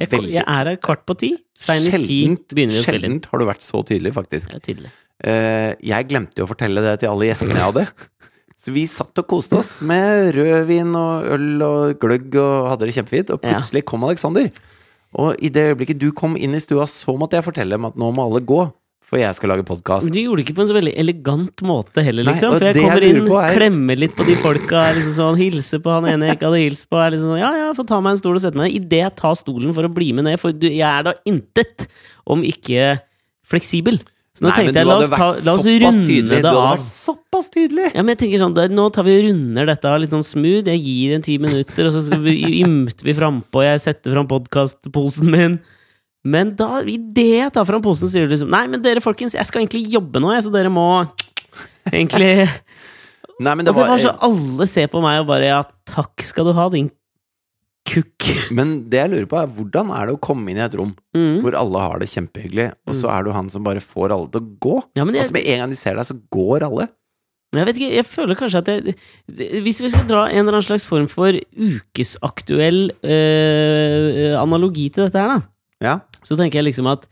Speaker 2: Jeg, ko- jeg er her kvart på ti. Seinest ti
Speaker 1: Sjeldent,
Speaker 2: begynner vi å spille inn.
Speaker 1: sjeldent har du vært så tydelig, faktisk.
Speaker 2: Jeg er tydelig.
Speaker 1: Eh, jeg glemte jo å fortelle det til alle gjestene jeg hadde. Så vi satt og koste oss med rødvin og øl og gløgg og hadde det kjempefint. Og
Speaker 2: Ja.
Speaker 1: plutselig kom Alexander. Og i det øyeblikket du kom inn i stua, så måtte jeg fortelle dem at nå må alle gå. for jeg skal lage podkast.
Speaker 2: Men Du gjorde det ikke på en så veldig elegant måte heller,
Speaker 1: Nei,
Speaker 2: liksom.
Speaker 1: og
Speaker 2: For jeg
Speaker 1: det jeg
Speaker 2: kommer
Speaker 1: lurer
Speaker 2: inn,
Speaker 1: på er-
Speaker 2: klemmer litt på de folka, er liksom sånn, hilser på han ene jeg ikke hadde hilst på. Er liksom sånn, ja, ja, få ta meg en stol og sette meg ned. Idet jeg tar stolen for å bli med ned, for du, jeg er da intet om ikke fleksibel. Så nå
Speaker 1: Nei, men
Speaker 2: tenkte jeg,
Speaker 1: du
Speaker 2: la
Speaker 1: hadde
Speaker 2: oss, ta,
Speaker 1: vært
Speaker 2: la oss
Speaker 1: såpass
Speaker 2: runde
Speaker 1: tydelig.
Speaker 2: det
Speaker 1: Du hadde
Speaker 2: av.
Speaker 1: vært såpass tydelig!
Speaker 2: Ja, men jeg tenker sånn, det, Nå tar vi og runder dette av litt sånn smooth. Jeg gir en ti minutter, og så skal vi, ymter vi frampå. Jeg setter fram podkastposen min. Men da, idet jeg tar fram posen, sier du liksom Nei, men dere folkens, jeg skal egentlig jobbe nå, jeg, så dere må egentlig
Speaker 1: Nei, men
Speaker 2: Og
Speaker 1: det var,
Speaker 2: så alle ser på meg og bare Ja, takk skal du ha, din kukk.
Speaker 1: men det jeg lurer på, er hvordan er det å komme inn i et rom
Speaker 2: Mm.
Speaker 1: hvor alle har det kjempehyggelig, og så er du han som bare får alle til å gå?
Speaker 2: Ja, men jeg,
Speaker 1: Altså Med en gang de ser deg, så går alle.
Speaker 2: Jeg vet ikke, jeg føler kanskje at jeg, Hvis vi skal dra en eller annen slags form for ukesaktuell øh, analogi til dette her, da.
Speaker 1: Ja.
Speaker 2: Så tenker jeg liksom at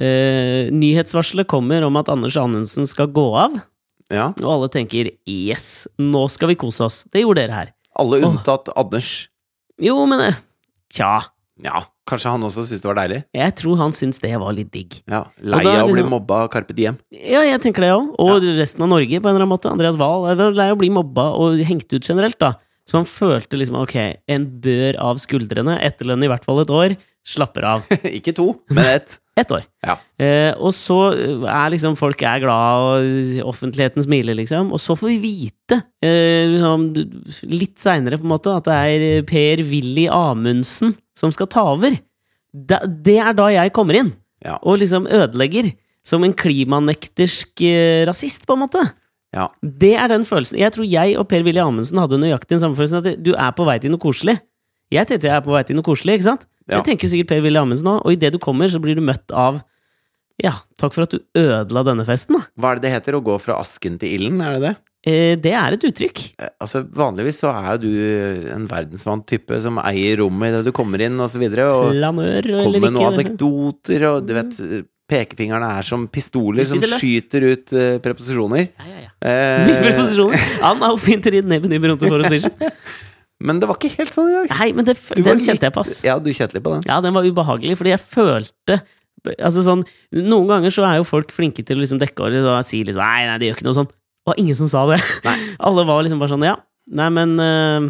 Speaker 2: eh, nyhetsvarselet kommer om at Anders Anundsen skal gå av,
Speaker 1: ja.
Speaker 2: og alle tenker 'yes, nå skal vi kose oss'. Det gjorde dere her.
Speaker 1: Alle
Speaker 2: Åh.
Speaker 1: unntatt Anders.
Speaker 2: Jo, men eh, tja.
Speaker 1: Ja, kanskje han også syntes det var deilig?
Speaker 2: Jeg tror han syns det var litt digg.
Speaker 1: Ja. Lei
Speaker 2: Og da er
Speaker 1: av å
Speaker 2: det
Speaker 1: bli
Speaker 2: sånn-
Speaker 1: mobba av Carpe Diem.
Speaker 2: Ja, jeg tenker det òg. Og resten av Norge, på en eller annen måte. Andreas Wahl er vel lei av å bli mobba og hengt ut generelt, da. Så han følte liksom ok, en bør av skuldrene, etterlønn i hvert fall et år, slapper av.
Speaker 1: Ikke to, men ett.
Speaker 2: Ett år.
Speaker 1: Ja.
Speaker 2: Eh, og så eh, er liksom folk er glad, og offentligheten smiler, liksom. Og så får vi vite, eh, liksom, d- litt seinere på en måte, at det er eh, Per Willy Amundsen som skal ta over. Da, det er da jeg kommer inn,
Speaker 1: Ja.
Speaker 2: og liksom ødelegger. Som en klimanektersk eh, rasist, på en måte.
Speaker 1: Ja.
Speaker 2: Det er den følelsen. Jeg tror jeg og Per Willy Amundsen hadde nøyaktig den samme følelsen. At du er på vei til noe koselig. Jeg tenkte jeg er på vei til noe koselig, ikke sant?
Speaker 1: Ja.
Speaker 2: Jeg tenker sikkert Per Willy Amundsen òg, og idet du kommer, så blir du møtt av Ja, takk for at du ødela denne festen, da.
Speaker 1: Hva er det det heter? Å gå fra asken til ilden, er det det?
Speaker 2: Eh, det er et uttrykk.
Speaker 1: Eh, Altså, Vanligvis så er jo du en verdensvant type som eier rommet idet du kommer inn, og så videre, og
Speaker 2: Planør
Speaker 1: kommer
Speaker 2: eller
Speaker 1: med noen
Speaker 2: ikke.
Speaker 1: anekdoter, og du vet eh, Pekefingrene er som pistoler som
Speaker 2: Skyter løs.
Speaker 1: skyter ut eh, preposisjoner.
Speaker 2: Ja, ja, ja. Ny
Speaker 1: Eh,
Speaker 2: preposisjon. Anna og Finterin nebben i bronte for å swishe.
Speaker 1: men det var ikke helt sånn i dag.
Speaker 2: Nei, men det, f-
Speaker 1: Du var
Speaker 2: den
Speaker 1: litt-
Speaker 2: kjente jeg på, ass.
Speaker 1: Ja, du kjente litt på den.
Speaker 2: Ja, den var ubehagelig, fordi jeg følte Altså sånn, Noen ganger så er jo folk flinke til å liksom dekke over og si liksom Nei, nei, det gjør ikke noe sånn. Det var ingen som sa det. Alle var liksom bare sånn Ja, nei, men eh,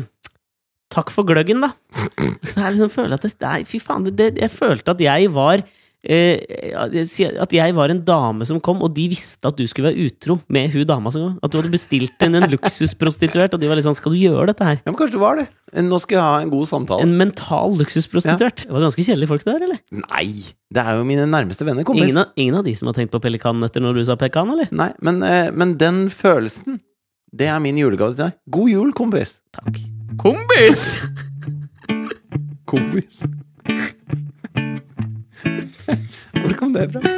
Speaker 2: Takk for gløggen, da. Så jeg liksom føler at det, Nei, fy faen. Det, det, jeg følte at jeg var eh, at jeg sier- at jeg var en dame som kom, og de visste at du skulle være utro med hun dama. som kom. At du hadde bestilt inn en luksusprostituert, og de var litt sånn Skal du gjøre dette her?
Speaker 1: Ja, men kanskje det var det. Nå skal jeg ha en god samtale.
Speaker 2: En mental luksusprostituert. Det var ganske kjedelige folk, det der, eller?
Speaker 1: Nei! Det er jo mine nærmeste venner, kompis.
Speaker 2: Ingen av, ingen av de som har tenkt på pelikannøtter når du sa pelikan, eller?
Speaker 1: Nei, men, eh, men den følelsen, det er min julegave til deg. God jul, kompis!
Speaker 2: Takk. Kompis!
Speaker 1: Kompis. Hvor kom det fra?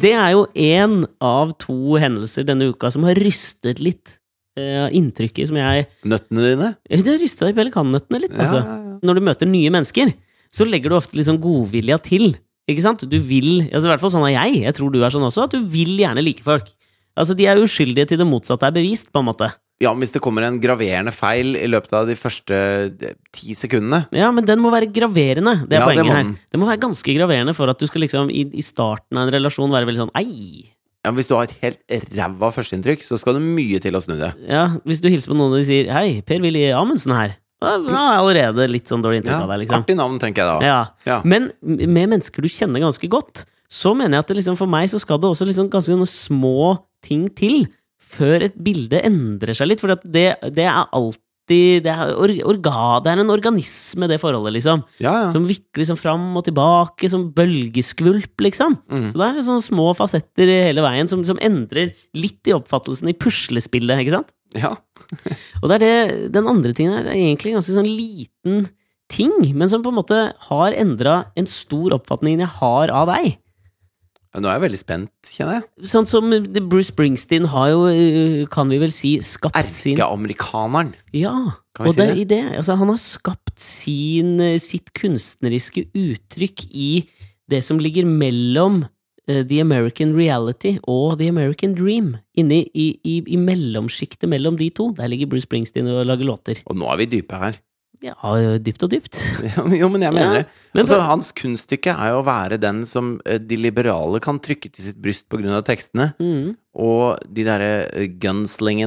Speaker 2: Det er jo én av to hendelser denne uka som har rystet litt eh, av inntrykket som jeg
Speaker 1: Nøttene dine?
Speaker 2: Det har rysta i pelikannøttene litt,
Speaker 1: Ja,
Speaker 2: altså.
Speaker 1: ja, ja.
Speaker 2: Når du møter nye mennesker, så legger du ofte liksom godvilja til. Ikke sant? Du vil altså I hvert fall sånn er jeg. Jeg tror du er sånn også. At du vil gjerne like folk. Altså, de er uskyldige til det motsatte er bevist, på en måte.
Speaker 1: ja, men hvis det kommer en graverende feil i løpet av de første eh, ti sekundene
Speaker 2: Ja, men den må være graverende. Det er
Speaker 1: Ja, det
Speaker 2: poenget
Speaker 1: må
Speaker 2: her.
Speaker 1: den.
Speaker 2: Den må være ganske graverende for at du skal liksom i, i starten av en relasjon være veldig sånn ei.
Speaker 1: ja, men Hvis du har et helt ræva førsteinntrykk, så skal det mye til å snu det.
Speaker 2: Ja, hvis du hilser på noen og de sier 'hei, Per Willy Amundsen her', da da har jeg allerede litt sånn dårlig inntrykk
Speaker 1: Ja,
Speaker 2: av deg, liksom.
Speaker 1: Artig navn, tenker jeg da.
Speaker 2: Ja.
Speaker 1: Ja.
Speaker 2: Men m- med mennesker du kjenner ganske godt, så mener jeg at det liksom for meg så skal det også liksom ganske noen små ting til før et bilde endrer seg litt, for det, det er alltid det er, or, orga, det er en organisme, det forholdet, liksom.
Speaker 1: Ja, ja.
Speaker 2: Som vikler liksom fram og tilbake, som bølgeskvulp, liksom.
Speaker 1: Mm.
Speaker 2: Så det er sånne små fasetter hele veien som, som endrer litt i oppfattelsen i puslespillet, ikke sant?
Speaker 1: ja.
Speaker 2: Og det er det, den andre tingen her, det er egentlig en ganske sånn liten ting, men som på en måte har endra en stor oppfatning jeg har av deg.
Speaker 1: Ja, Nå er jeg veldig spent, kjenner jeg.
Speaker 2: Sånn som eh, Bruce Springsteen har jo, eh, kan vi vel si, skapt sin
Speaker 1: Erkeamerikaneren.
Speaker 2: Ja,
Speaker 1: Kan vi
Speaker 2: og
Speaker 1: si
Speaker 2: det er i det. Altså, han har skapt sin, eh, sitt kunstneriske uttrykk i det som ligger mellom eh, The American Reality og The American Dream. Inni i, i, i mellomsjiktet mellom de to. Der ligger Bruce Springsteen og lager låter.
Speaker 1: Og nå er vi dype her.
Speaker 2: Ja, dypt og dypt.
Speaker 1: Jo, men jeg mener
Speaker 2: Ja,
Speaker 1: det.
Speaker 2: men
Speaker 1: altså,
Speaker 2: for-
Speaker 1: hans kunststykke er jo å være den som eh, de liberale kan trykke til sitt bryst på grunn av tekstene,
Speaker 2: Mm.
Speaker 1: og de derre eh,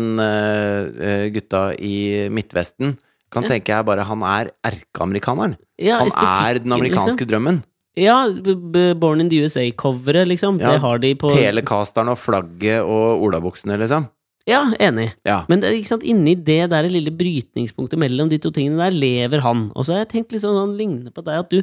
Speaker 1: gunslingen-gutta eh, i Midtvesten kan tenke jeg bare han er erkeamerikaneren.
Speaker 2: Ja,
Speaker 1: Han
Speaker 2: estetikken,
Speaker 1: er den amerikanske
Speaker 2: liksom.
Speaker 1: drømmen.
Speaker 2: Ja, B- B- Born in the USA-coveret, liksom.
Speaker 1: Ja,
Speaker 2: Det har de på
Speaker 1: Telecasteren og flagget og olabuksene, liksom.
Speaker 2: Ja, enig.
Speaker 1: Ja.
Speaker 2: Men det, ikke sant, inni det der lille brytningspunktet mellom de to tingene der, lever han. Og så har jeg tenkt litt sånn, sånn lignende på deg, at du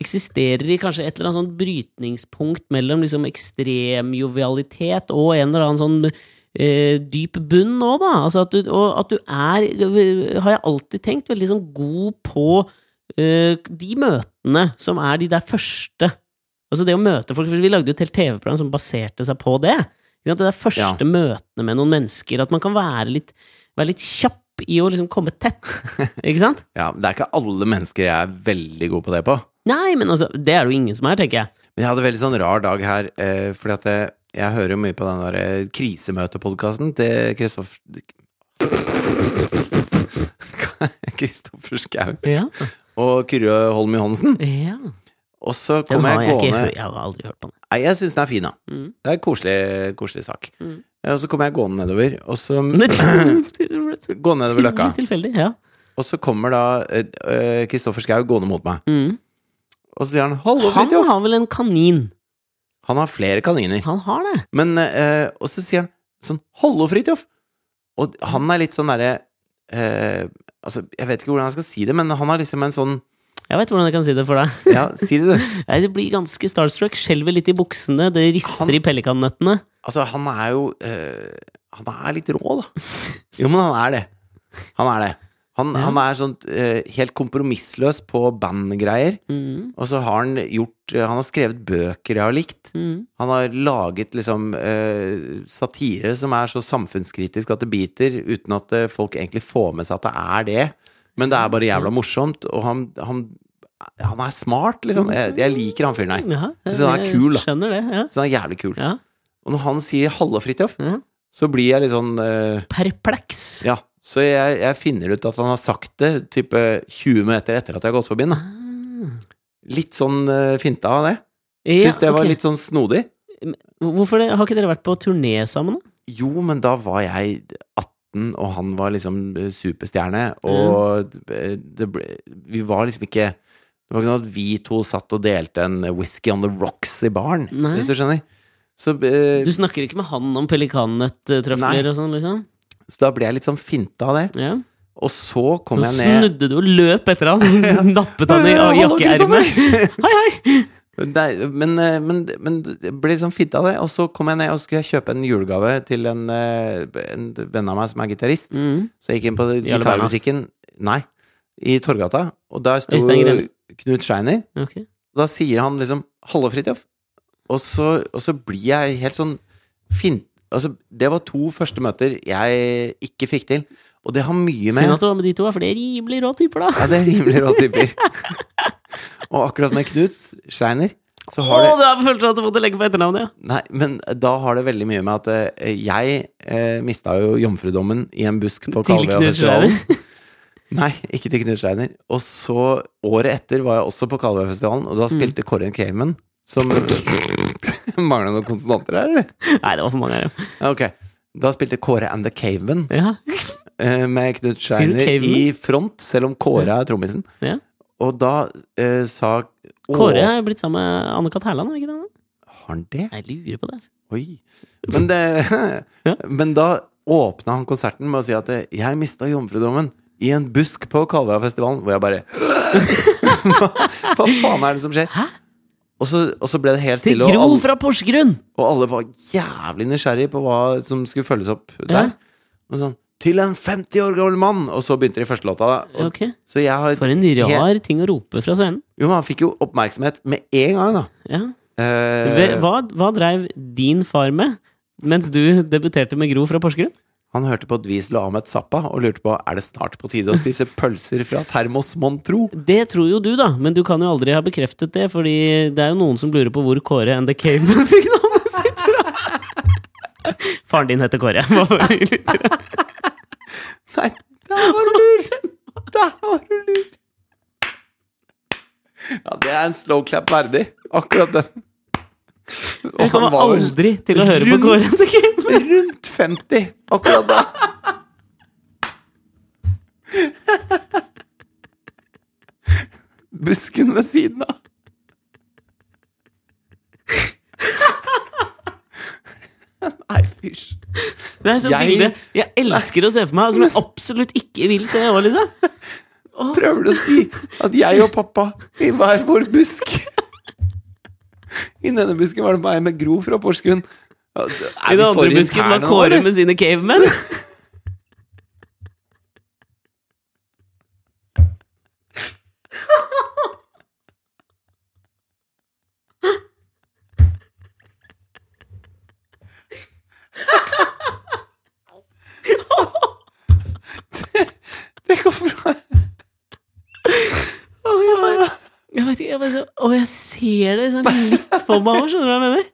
Speaker 2: eksisterer i kanskje et eller annet sånn brytningspunkt mellom liksom ekstrem jovialitet og en eller annen sånn eh, dyp bunn nå, da. Altså at du, og at du er, har jeg alltid tenkt, veldig sånn god på eh, de møtene som er de der første. Altså det å møte folk, for Vi lagde jo et helt TV-program som baserte seg på det. Ikke sant? Det der første
Speaker 1: Ja.
Speaker 2: møtene med noen mennesker. At man kan være litt, være litt kjapp i å liksom komme tett. Ikke sant?
Speaker 1: ja. Det er ikke alle mennesker jeg er veldig god på det på.
Speaker 2: Nei, men altså, det er det jo ingen som er, tenker jeg.
Speaker 1: Men jeg hadde en veldig sånn rar dag her, eh, fordi at jeg, jeg hører jo mye på den der eh, krisemøtepodkasten til Kristoffer Kristoffer Schau
Speaker 2: Ja.
Speaker 1: og Kyrre Holm Johansen. Og så
Speaker 2: Den
Speaker 1: kom jeg
Speaker 2: har jeg, ikke,
Speaker 1: gående
Speaker 2: hø- jeg har aldri hørt på den.
Speaker 1: Nei, jeg syns den er fin, da.
Speaker 2: Mm.
Speaker 1: Det er en koselig, koselig sak.
Speaker 2: Mm.
Speaker 1: Ja, Og så kom jeg gående nedover, og så
Speaker 2: Men-
Speaker 1: Gående nedover løkka.
Speaker 2: Tilfeldig, ja.
Speaker 1: Og så kommer da eh, Kristoffer Schau gående mot meg,
Speaker 2: Mm.
Speaker 1: og så sier han 'hallo,
Speaker 2: Han
Speaker 1: Fridtjof'.
Speaker 2: har vel en kanin?
Speaker 1: Han har flere kaniner.
Speaker 2: Han har det.
Speaker 1: Men, eh, og så sier han sånn 'Hallo, Fridtjof!' Og han er litt sånn derre eh, Altså, jeg vet ikke hvordan jeg skal si det, men han har liksom en sånn
Speaker 2: Jeg vet hvordan jeg kan si det for deg.
Speaker 1: Ja, si det, du.
Speaker 2: Jeg blir ganske starstruck, skjelver litt i buksene, det rister
Speaker 1: Han-
Speaker 2: i pellikannøttene.
Speaker 1: Altså, han er jo eh, Han er litt rå, da. Jo, men han er det. Han er det. Han,
Speaker 2: Ja.
Speaker 1: han er sånn eh, helt kompromissløs på bandgreier.
Speaker 2: Mm.
Speaker 1: Og så har han gjort eh, Han har skrevet bøker jeg har likt.
Speaker 2: Mm.
Speaker 1: Han har laget liksom eh, satire som er så samfunnskritisk at det biter, uten at eh, folk egentlig får med seg at det er det. Men det er bare jævla morsomt, og han, han, han er smart, liksom. Jeg, jeg liker han fyren her.
Speaker 2: Ja, jeg-
Speaker 1: Så han er kul, da.
Speaker 2: jeg Skjønner det, ja.
Speaker 1: Så han er jævlig kul.
Speaker 2: ja. Mhm.
Speaker 1: Og når han sier 'halla, Fridtjof',
Speaker 2: Ja.
Speaker 1: så blir jeg litt sånn eh,
Speaker 2: Perpleks.
Speaker 1: Ja. Så jeg, jeg finner ut at han har sagt det type 20 meter etter at jeg har gått forbi han. da.
Speaker 2: Ah.
Speaker 1: Litt sånn eh, finta av det.
Speaker 2: Ja,
Speaker 1: Syns det var
Speaker 2: ok.
Speaker 1: litt sånn snodig.
Speaker 2: Hvorfor det? Har ikke dere vært på turné sammen, da?
Speaker 1: Jo, men da var jeg 18, og han var liksom eh, superstjerne, og eh, det ble Vi var liksom ikke Det var ikke noe at vi to satt og delte en whisky on the rocks i baren,
Speaker 2: Nei.
Speaker 1: hvis du skjønner. Så, eh,
Speaker 2: Du snakker ikke med han om pelikannøtt-trøfler
Speaker 1: Nei.
Speaker 2: og sånn, liksom?
Speaker 1: så da ble jeg litt sånn finta av det.
Speaker 2: Ja.
Speaker 1: Og så kom
Speaker 2: Så
Speaker 1: jeg ned
Speaker 2: snudde du og løp etter han, nappet han i
Speaker 1: Hallo,
Speaker 2: jakkeermet. Hei, hei!
Speaker 1: Nei, men, eh, men, men jeg ble liksom finta av det, og så kom jeg ned og skulle jeg kjøpe en julegave til en, eh, en venn av meg som er gitarist.
Speaker 2: Mm.
Speaker 1: Så jeg gikk inn på
Speaker 2: Jarle Bernhoft.
Speaker 1: gitarbutikken Nei, i Torgata, og der sto
Speaker 2: Øystein Grene.
Speaker 1: Knut Scheiner.
Speaker 2: Ok.
Speaker 1: Da sier han liksom 'Hallo, Fridtjof'. Og så, og så blir jeg helt sånn fint Altså, det var to første møter jeg ikke fikk til, og det har mye med
Speaker 2: Synd at det var med de to, for de er rimelig rå typer, da.
Speaker 1: Ja, det er rimelig rå typer. og akkurat med Knut Scheiner, så
Speaker 2: Å,
Speaker 1: har det
Speaker 2: du har følelsen av at du måtte legge på etternavnet, ja.
Speaker 1: Nei, men da har det veldig mye med at eh, jeg eh, mista jo jomfrudommen i en busk på
Speaker 2: Til Knut
Speaker 1: Kalvøyafestivalen. Nei, ikke til Knut Steiner. Og så, året etter, var jeg også på Kalvøyafestivalen, og da
Speaker 2: Mm.
Speaker 1: spilte Corin Cayman som Mangler det noen konsonanter her, eller?
Speaker 2: Nei, det var for mange her,
Speaker 1: Ja, Ok. Da spilte Kåre and the Caveman
Speaker 2: ja.
Speaker 1: eh, med Knut
Speaker 2: Sier du
Speaker 1: Steiner
Speaker 2: Caveman?
Speaker 1: i front, selv om Kåre er trommisen.
Speaker 2: Ja.
Speaker 1: Og da eh, sa Å,
Speaker 2: Kåre er blitt sammen med Anne-Kat. Hærland, er ikke det? han?
Speaker 1: Har han det?
Speaker 2: Jeg lurer på det. altså.
Speaker 1: Oi. Men, det,
Speaker 2: Ja.
Speaker 1: men da åpna han konserten med å si at eh, 'jeg mista jomfrudommen i en busk på Kalvøyafestivalen', hvor jeg bare hva, hva faen er det som skjer?
Speaker 2: Hæ?
Speaker 1: Og så, og så ble det helt
Speaker 2: Til
Speaker 1: stille, og
Speaker 2: Gro
Speaker 1: alle,
Speaker 2: fra Porsgrunn!
Speaker 1: og alle var jævlig nysgjerrig på hva som skulle følges opp
Speaker 2: Ja.
Speaker 1: der. Og sånn 'Til en 50 år gammel mann', og så begynte de første låta. da. Og,
Speaker 2: Ok,
Speaker 1: Så jeg har
Speaker 2: For en rar ting å rope fra scenen.
Speaker 1: Jo, men han fikk jo oppmerksomhet med en gang, da.
Speaker 2: Ja.
Speaker 1: Eh,
Speaker 2: Ve- Hva, hva dreiv din far med mens du debuterte med Gro fra Porsgrunn?
Speaker 1: Han hørte på Dweezil og Ahmed Zappa og lurte på er det snart på tide å spise pølser fra Termos, mon tro?
Speaker 2: Det tror jo du, da, men du kan jo aldri ha bekreftet det, fordi det er jo noen som lurer på hvor Kåre and the Caveman fikk navnet sitt fra. Faren din heter Kåre. Hva for-
Speaker 1: Nei, der var du lur! Der var du lur! Ja, det er en slow clap verdig. Akkurat den. Og
Speaker 2: Jeg
Speaker 1: han
Speaker 2: kommer
Speaker 1: var vel
Speaker 2: aldri til å høre på
Speaker 1: rundt-
Speaker 2: Kåre Kim.
Speaker 1: rundt 50 akkurat da. Busken ved siden av. Nei, fysj.
Speaker 2: Det er sånn
Speaker 1: Jeg-
Speaker 2: bilde jeg elsker å se for meg, som jeg absolutt ikke vil se òg, liksom.
Speaker 1: Prøver du å si at jeg og pappa i hver vår busk I denne busken var det meg med Gro fra Porsgrunn. Ja, det- er vi
Speaker 2: I den
Speaker 1: for
Speaker 2: andre busken
Speaker 1: interne
Speaker 2: var
Speaker 1: nå,
Speaker 2: Kåre
Speaker 1: eller?
Speaker 2: med sine cavemen.
Speaker 1: Det går bra.
Speaker 2: Jeg vet ikke, jeg bare, så- å, jeg ser det sånn litt på meg òg, skjønner du hva jeg mener?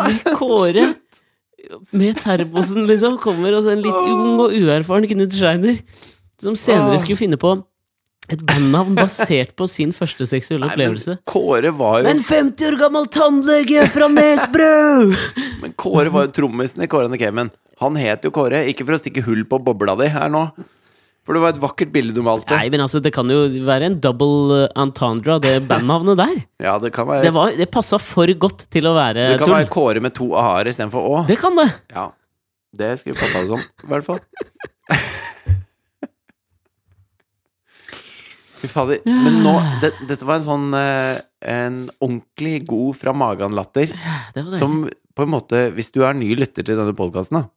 Speaker 2: Med Kåre med termosen, liksom, kommer og så en litt ung og uerfaren Knut Scheiner, som senere skulle finne på et bandnavn basert på sin første seksuelle
Speaker 1: Nei, men
Speaker 2: opplevelse.
Speaker 1: Kåre var jo
Speaker 2: En 50 år gammel tannlege fra Nesbru!
Speaker 1: Men Kåre var jo trommisen i Kåre and the Cayman. Han het jo Kåre, ikke for å stikke hull på bobla di her nå. For det var et vakkert bilde du malte.
Speaker 2: Nei, men altså, det kan jo være en double entendre, av det bandnavnet der.
Speaker 1: Ja, det kan
Speaker 2: Det,
Speaker 1: være,
Speaker 2: var- det passa for godt til å være
Speaker 1: det kan
Speaker 2: tull.
Speaker 1: være Kåre med to a-er istedenfor å.
Speaker 2: Det kan det!
Speaker 1: Ja. Det skulle pappa det som, i hvert fall. Fy fader. Men nå det, Dette var en sånn eh, En ordentlig god fra magen-latter.
Speaker 2: det var det.
Speaker 1: Som på en måte Hvis du er ny lytter til denne podkasten,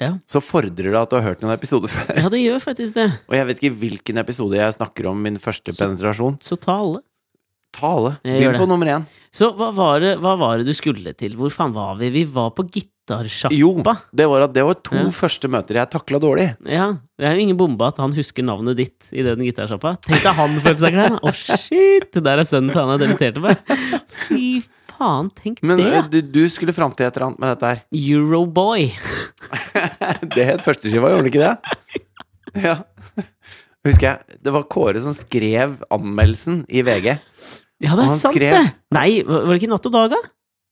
Speaker 2: Ja.
Speaker 1: så fordrer det at du har hørt noen episoder før.
Speaker 2: ja, det gjør faktisk det.
Speaker 1: Og jeg vet ikke hvilken episode jeg snakker om min første
Speaker 2: Så-
Speaker 1: penetrasjon.
Speaker 2: Så ta alle.
Speaker 1: Tale.
Speaker 2: Jeg gjør
Speaker 1: Begynn på
Speaker 2: det.
Speaker 1: nummer én.
Speaker 2: Så hva var, det, hva var det du skulle til? Hvor faen var vi? Vi var på gitarsjappa.
Speaker 1: Jo, det var at det var to
Speaker 2: Ja.
Speaker 1: første møter jeg takla dårlig.
Speaker 2: Ja, det er jo ingen bombe at han husker navnet ditt i den gitarsjappa. Tenk deg han følte seg klein! Å, shit! Der er sønnen til han jeg debuterte med. Fy faen, tenk
Speaker 1: Men eh,
Speaker 2: det!
Speaker 1: ø, du, du skulle fram til et eller annet med dette her.
Speaker 2: Euroboy.
Speaker 1: Det het førsteskiva, gjorde det ikke det? Ja. Husker jeg, Det var Kåre som skrev anmeldelsen i VG.
Speaker 2: Ja, det
Speaker 1: Og
Speaker 2: er
Speaker 1: han
Speaker 2: sant,
Speaker 1: skrev-
Speaker 2: det! Nei, var var det ikke Natt og dag, da?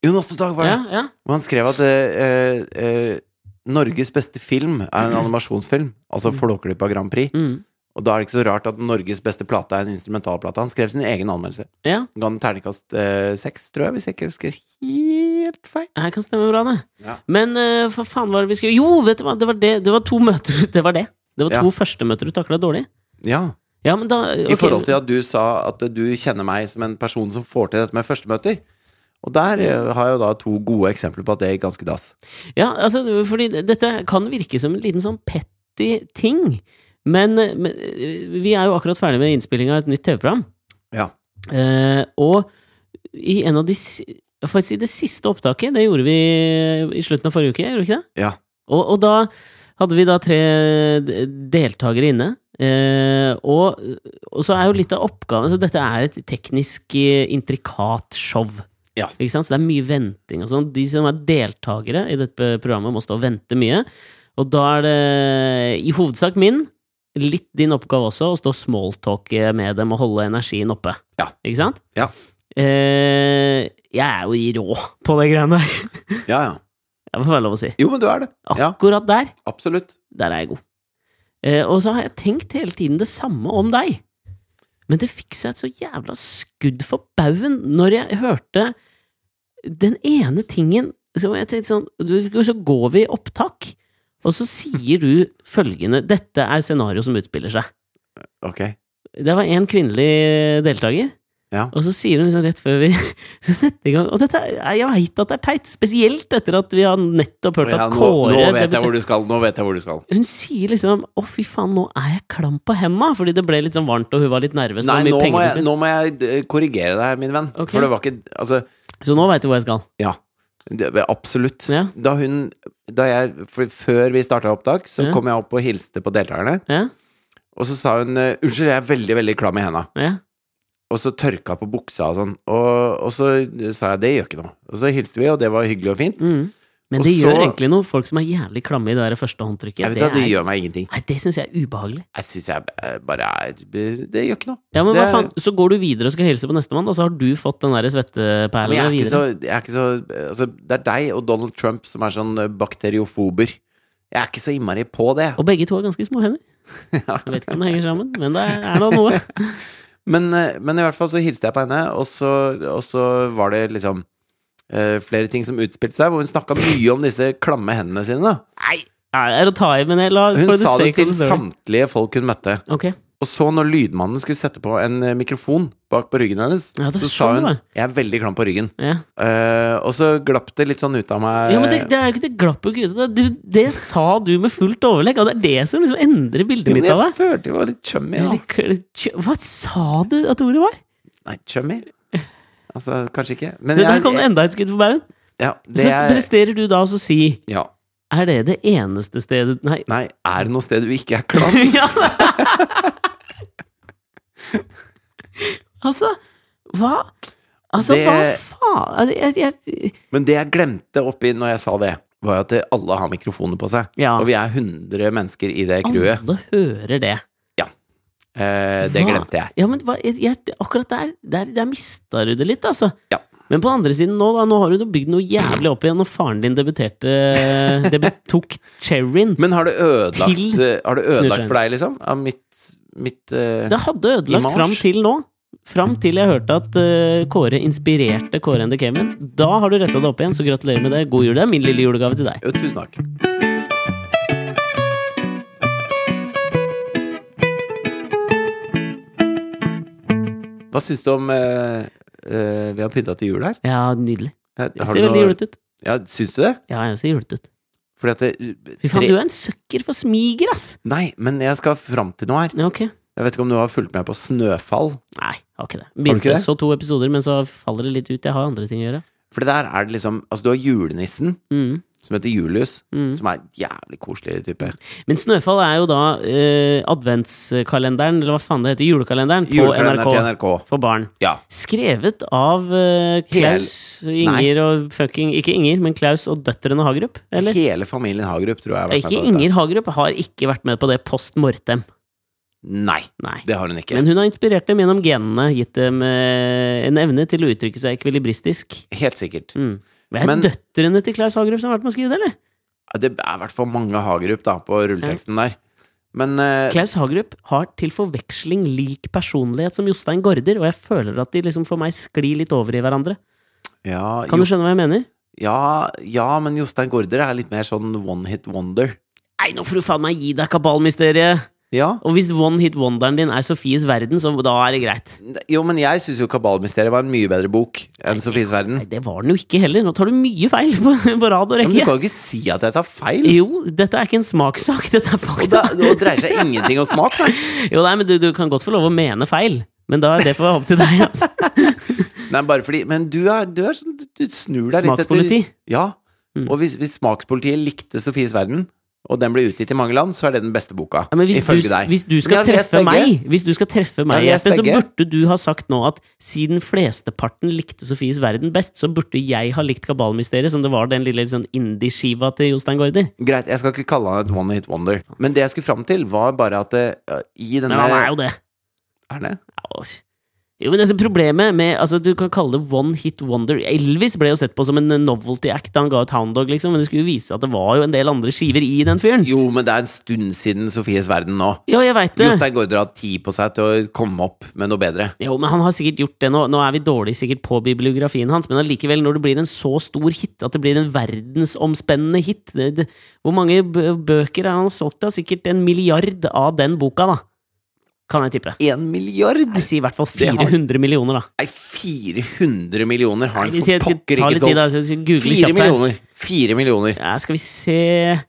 Speaker 1: Jo, Natt og dag var det.
Speaker 2: Ja, ja.
Speaker 1: Og han skrev at ø, ø, ø, Norges beste film er en animasjonsfilm. Altså Flåklypa Grand Prix.
Speaker 2: Mm.
Speaker 1: Og da er det ikke så rart at Norges beste plate er en instrumentalplate. Han skrev sin egen anmeldelse.
Speaker 2: ja.
Speaker 1: ga den terningkast eh, seks, tror jeg, hvis jeg ikke husker helt feil.
Speaker 2: Det her kan stemme bra, det.
Speaker 1: Ja.
Speaker 2: Men eh, hva faen var det vi skulle Jo, vet du hva, det var, det, det var to møter Det var det. Det var
Speaker 1: Ja.
Speaker 2: to første møter du takla dårlig.
Speaker 1: Ja.
Speaker 2: Ja, men da
Speaker 1: I forhold til at du sa at du kjenner meg som en person som får til dette med førstemøter. Og der eh, har jeg jo da to gode eksempler på at det gikk ganske dass.
Speaker 2: Ja, altså, fordi dette kan virke som en liten sånn petty ting. Men, men eh, vi er jo akkurat ferdig med innspillinga av et nytt TV-program.
Speaker 1: Ja.
Speaker 2: Eh, og i en av de si- Faktisk i det siste opptaket, det gjorde vi i slutten av forrige uke, gjorde vi ikke det?
Speaker 1: Ja.
Speaker 2: Og, og da hadde vi da tre d- deltakere inne. Eh, og, og så er jo litt av oppgaven Så dette er et teknisk eh, intrikat show.
Speaker 1: Ja.
Speaker 2: Ikke sant? Så det er mye venting og sånn. De som er deltakere i dette programmet, må stå og vente mye. Og da er det i hovedsak min, litt din oppgave også, å stå og smalltalke med dem og holde energien oppe.
Speaker 1: Ja.
Speaker 2: Ikke sant?
Speaker 1: Ja.
Speaker 2: Eh, jeg er jo i rå på det greiene der.
Speaker 1: Ja, ja.
Speaker 2: Jeg får være lov å si.
Speaker 1: Jo, men du er det. Ja.
Speaker 2: Akkurat der,
Speaker 1: Absolutt.
Speaker 2: der er jeg god. Eh, og så har jeg tenkt hele tiden det samme om deg. Men det fikk seg et så jævla skudd for baugen når jeg hørte den ene tingen som jeg tenkte sånn, du- Så går vi i opptak, og så sier du følgende Dette er scenarioet som utspiller seg.
Speaker 1: Ok.
Speaker 2: Det var en kvinnelig deltaker.
Speaker 1: Ja.
Speaker 2: Og så sier hun liksom rett før vi skal sette i gang Og dette, er- jeg veit at det er teit, spesielt etter at vi har nettopp hørt
Speaker 1: Og ja,
Speaker 2: at
Speaker 1: nå,
Speaker 2: Kåre
Speaker 1: nå vet
Speaker 2: debuter-
Speaker 1: jeg hvor du skal. Nå vet jeg hvor du skal.
Speaker 2: Hun sier liksom 'Å, fy faen, nå er jeg klam på henda', fordi det ble litt sånn varmt, og hun var litt nervøs.
Speaker 1: Nei,
Speaker 2: og mye
Speaker 1: nå må
Speaker 2: penger
Speaker 1: jeg,
Speaker 2: til spill.
Speaker 1: nå må jeg eh, korrigere deg, min venn.
Speaker 2: Ok.
Speaker 1: For det var ikke Altså,
Speaker 2: Så nå veit du hvor jeg skal.
Speaker 1: Ja, det, absolutt.
Speaker 2: Ja.
Speaker 1: Da hun da jeg, for Før vi starta opptak, så
Speaker 2: Ja.
Speaker 1: kom jeg opp og hilste på deltakerne.
Speaker 2: Ja,
Speaker 1: Og så sa hun eh, 'Unnskyld, jeg er veldig, veldig klam i henda'.
Speaker 2: ja.
Speaker 1: Og så tørka på buksa og sånn. Og, og så sa jeg 'det gjør ikke noe'. Og så hilste vi, og det var hyggelig og fint.
Speaker 2: Mm. Men Men
Speaker 1: Og
Speaker 2: det gjør
Speaker 1: så-
Speaker 2: egentlig noe. Folk som er jævlig klamme i det der første håndtrykket.
Speaker 1: Jeg vet
Speaker 2: det
Speaker 1: hva, Det
Speaker 2: er-
Speaker 1: gjør meg ingenting.
Speaker 2: Nei, det syns jeg er ubehagelig.
Speaker 1: Jeg syns jeg eh, bare er Det gjør ikke noe.
Speaker 2: Ja, men
Speaker 1: Det
Speaker 2: hva
Speaker 1: er-
Speaker 2: faen, Så går du videre og skal hilse på nestemann, og så har du fått den der
Speaker 1: Men jeg
Speaker 2: svetteperlen
Speaker 1: er ikke
Speaker 2: videre.
Speaker 1: så, jeg er ikke så altså, Det er deg og Donald Trump som er sånn eh, bakteriofober. Jeg er ikke så innmari på det.
Speaker 2: Og begge to har ganske små hender. Jeg vet ikke om det henger sammen, men det er da noe.
Speaker 1: Men, eh, men i hvert fall så hilste jeg på henne, og så, og så var det liksom eh, flere ting som utspilte seg, hvor hun snakka mye om disse klamme hendene sine. Da.
Speaker 2: Nei, det er å ta i, men jeg la
Speaker 1: Hun
Speaker 2: for
Speaker 1: sa det
Speaker 2: sake of
Speaker 1: til
Speaker 2: the story.
Speaker 1: samtlige folk hun møtte.
Speaker 2: Ok,
Speaker 1: Og så, når lydmannen skulle sette på en eh, mikrofon bak på ryggen hennes,
Speaker 2: Ja, det
Speaker 1: så sa hun
Speaker 2: sånn det var.
Speaker 1: 'Jeg er veldig klam på ryggen'.
Speaker 2: ja.
Speaker 1: Eh, og så glapp det litt sånn ut av meg.
Speaker 2: ja, men det, det er jo ikke det glapp og gryte. Det, du- det sa du med fullt overlegg, og det er det som liksom endrer bildet
Speaker 1: Jo,
Speaker 2: mitt
Speaker 1: men
Speaker 2: av
Speaker 1: jeg
Speaker 2: deg.
Speaker 1: følte jeg var litt chummy, da.
Speaker 2: Eller kø- kjø- Hva sa du at ordet var?
Speaker 1: Nei, chummy? Altså, kanskje ikke. Men
Speaker 2: Det der kom
Speaker 1: jeg,
Speaker 2: enda et skudd for baugen.
Speaker 1: ja,
Speaker 2: Så
Speaker 1: det er,
Speaker 2: presterer du da å si
Speaker 1: ja.
Speaker 2: Er det det eneste stedet Nei.
Speaker 1: Nei, er det noe sted du ikke er klam?
Speaker 2: Ja, altså Hva? Altså,
Speaker 1: Det-
Speaker 2: hva faen? Altså, Jeg, jeg,
Speaker 1: Men det jeg glemte oppi når jeg sa det, var jo at det- alle har mikrofoner på seg.
Speaker 2: ja.
Speaker 1: Og vi er 100 mennesker i det crewet.
Speaker 2: Alle hører det.
Speaker 1: Eh, det
Speaker 2: Hva?
Speaker 1: glemte jeg.
Speaker 2: Ja, men hva, jeg, jeg, akkurat der, der, der mista du det litt, altså.
Speaker 1: Ja.
Speaker 2: Men på andre siden, nå, da, nå har du bygd noe jævlig opp igjen, og faren din debuterte debut, Tok cherryen.
Speaker 1: Men har det ødelagt,
Speaker 2: Til
Speaker 1: eh, har det
Speaker 2: Knutsen.
Speaker 1: ødelagt for deg, liksom? Av mitt, mitt eh,
Speaker 2: Det hadde
Speaker 1: I
Speaker 2: ødelagt
Speaker 1: mars.
Speaker 2: fram til nå. Fram til jeg hørte at eh, Kåre inspirerte Kåre and the Cayman. Da har du retta det opp igjen, så gratulerer med det. God jul. Det er min lille julegave til deg.
Speaker 1: Jo, tusen takk. Hva syns du om eh, eh, Vi har pynta til jul her.
Speaker 2: Ja, nydelig.
Speaker 1: Har
Speaker 2: Jeg
Speaker 1: du
Speaker 2: ser veldig
Speaker 1: noe-
Speaker 2: julete ut.
Speaker 1: Ja, syns du det?
Speaker 2: Ja, jeg ser julete ut.
Speaker 1: Fordi at det,
Speaker 2: Fy faen, du er en søkker for smiger, ass!
Speaker 1: Nei, men jeg skal fram til noe her.
Speaker 2: Ja, ok.
Speaker 1: Jeg vet ikke om du har fulgt med på Snøfall?
Speaker 2: Nei, har ikke det. Begynte
Speaker 1: ikke det?
Speaker 2: så to episoder, men så faller det litt ut. Jeg har andre ting å gjøre. ass.
Speaker 1: For der er det liksom Altså, du har julenissen,
Speaker 2: Mm,
Speaker 1: som heter Julius,
Speaker 2: mm.
Speaker 1: som er en jævlig koselig type.
Speaker 2: Men Snøfall er jo da eh, adventskalenderen, eller hva faen det heter, julekalenderen, på
Speaker 1: Julekalender til
Speaker 2: NRK
Speaker 1: NRK.
Speaker 2: for barn.
Speaker 1: Ja.
Speaker 2: Skrevet av eh, Klaus, Inger og fucking Ikke Inger, men Klaus og døtrene Hagerup, eller?
Speaker 1: Hele familien Hagerup, tror jeg. har vært med
Speaker 2: Ikke
Speaker 1: på dette.
Speaker 2: Inger Hagerup har ikke vært med på det post mortem.
Speaker 1: Nei,
Speaker 2: Nei.
Speaker 1: det har hun ikke.
Speaker 2: Men hun har inspirert dem gjennom genene, gitt dem eh, en evne til å uttrykke seg ekvilibristisk.
Speaker 1: Helt sikkert.
Speaker 2: Mm. Det er
Speaker 1: Men-
Speaker 2: døtrene til Klaus Hagerup som har vært med å skrive det, eller?
Speaker 1: Ja, Det er i hvert fall mange Hagerup da, på rulleteksten der. Men eh,
Speaker 2: Klaus Hagerup har til forveksling lik personlighet som Jostein Gaarder, og jeg føler at de liksom for meg sklir litt over i hverandre.
Speaker 1: ja,
Speaker 2: Kan
Speaker 1: jo,
Speaker 2: du skjønne hva jeg mener?
Speaker 1: ja, ja, men Jostein Gaarder er litt mer sånn one hit wonder.
Speaker 2: Nei, nå får du faen meg gi deg kabalmysteriet!
Speaker 1: Ja.
Speaker 2: Og hvis one hit wonderen din er Sofies verden, så da er det greit.
Speaker 1: Jo, men jeg syns jo Kabalmysteriet var en mye bedre bok enn Sofies verden.
Speaker 2: Nei, det var den jo ikke heller. Nå tar du mye feil på, på rad og
Speaker 1: Ja, men du
Speaker 2: rekke.
Speaker 1: kan jo ikke si at jeg tar feil!
Speaker 2: Jo, dette er ikke en smakssak, dette er
Speaker 1: Og da,
Speaker 2: fakta.
Speaker 1: og dreier seg ingenting om smak, nei.
Speaker 2: Jo, nei, men du, du kan godt få lov å mene feil, men da er det for opp til deg, altså.
Speaker 1: nei bare fordi, men du er, du er sånn du, du snur deg litt
Speaker 2: Smakspoliti.
Speaker 1: Ja.
Speaker 2: Mm.
Speaker 1: Og hvis, hvis smakspolitiet likte Sofies verden, og den ble utgitt i mange land, så er det den beste boka.
Speaker 2: Ja, men hvis,
Speaker 1: ifølge
Speaker 2: du,
Speaker 1: deg.
Speaker 2: hvis du skal
Speaker 1: Men jeg har lest
Speaker 2: treffe
Speaker 1: begge.
Speaker 2: meg, hvis du skal treffe
Speaker 1: Jeg
Speaker 2: meg
Speaker 1: har lest
Speaker 2: Jeppe, så
Speaker 1: begge.
Speaker 2: burde du ha sagt nå at siden flesteparten likte Sofies verden best, så burde jeg ha likt Kabalmysteriet, som det var den lille sånn indie-skiva til Jostein Gaarder.
Speaker 1: Greit, jeg skal ikke kalle han et one hit wonder. Men det jeg skulle fram til, var bare at det, ja, i denne
Speaker 2: Men han er jo det.
Speaker 1: Er det?
Speaker 2: Ja, og- Jo, men altså, problemet med altså, Du kan kalle det one hit wonder. Elvis ble jo sett på som en novelty act da han ga ut Hound Dog, liksom, men det skulle jo vise at det var jo en del andre skiver i den fyren.
Speaker 1: Jo, men det er en stund siden Sofies verden nå.
Speaker 2: Ja, jeg veit det.
Speaker 1: Jostein Gaarder har hatt tid på seg til å komme opp med noe bedre.
Speaker 2: Jo, men han har sikkert gjort det nå. Nå er vi dårlig sikkert på bibliografien hans, men allikevel, når det blir en så stor hit, at det blir en verdensomspennende hit det, det, Hvor mange bø- bøker er han solgt av? Sikkert en milliard av den boka, da. Kan jeg tippe.
Speaker 1: Én milliard!
Speaker 2: Jeg sier i hvert fall
Speaker 1: Det har-
Speaker 2: 400 millioner, da.
Speaker 1: Nei, 400 millioner har han
Speaker 2: Vi sier-
Speaker 1: for
Speaker 2: vi
Speaker 1: pokker
Speaker 2: tar
Speaker 1: ikke
Speaker 2: litt tid, da.
Speaker 1: solgt.
Speaker 2: så vi skal Google
Speaker 1: Fire
Speaker 2: kjapt her.
Speaker 1: millioner! Fire millioner.
Speaker 2: Ja, skal vi se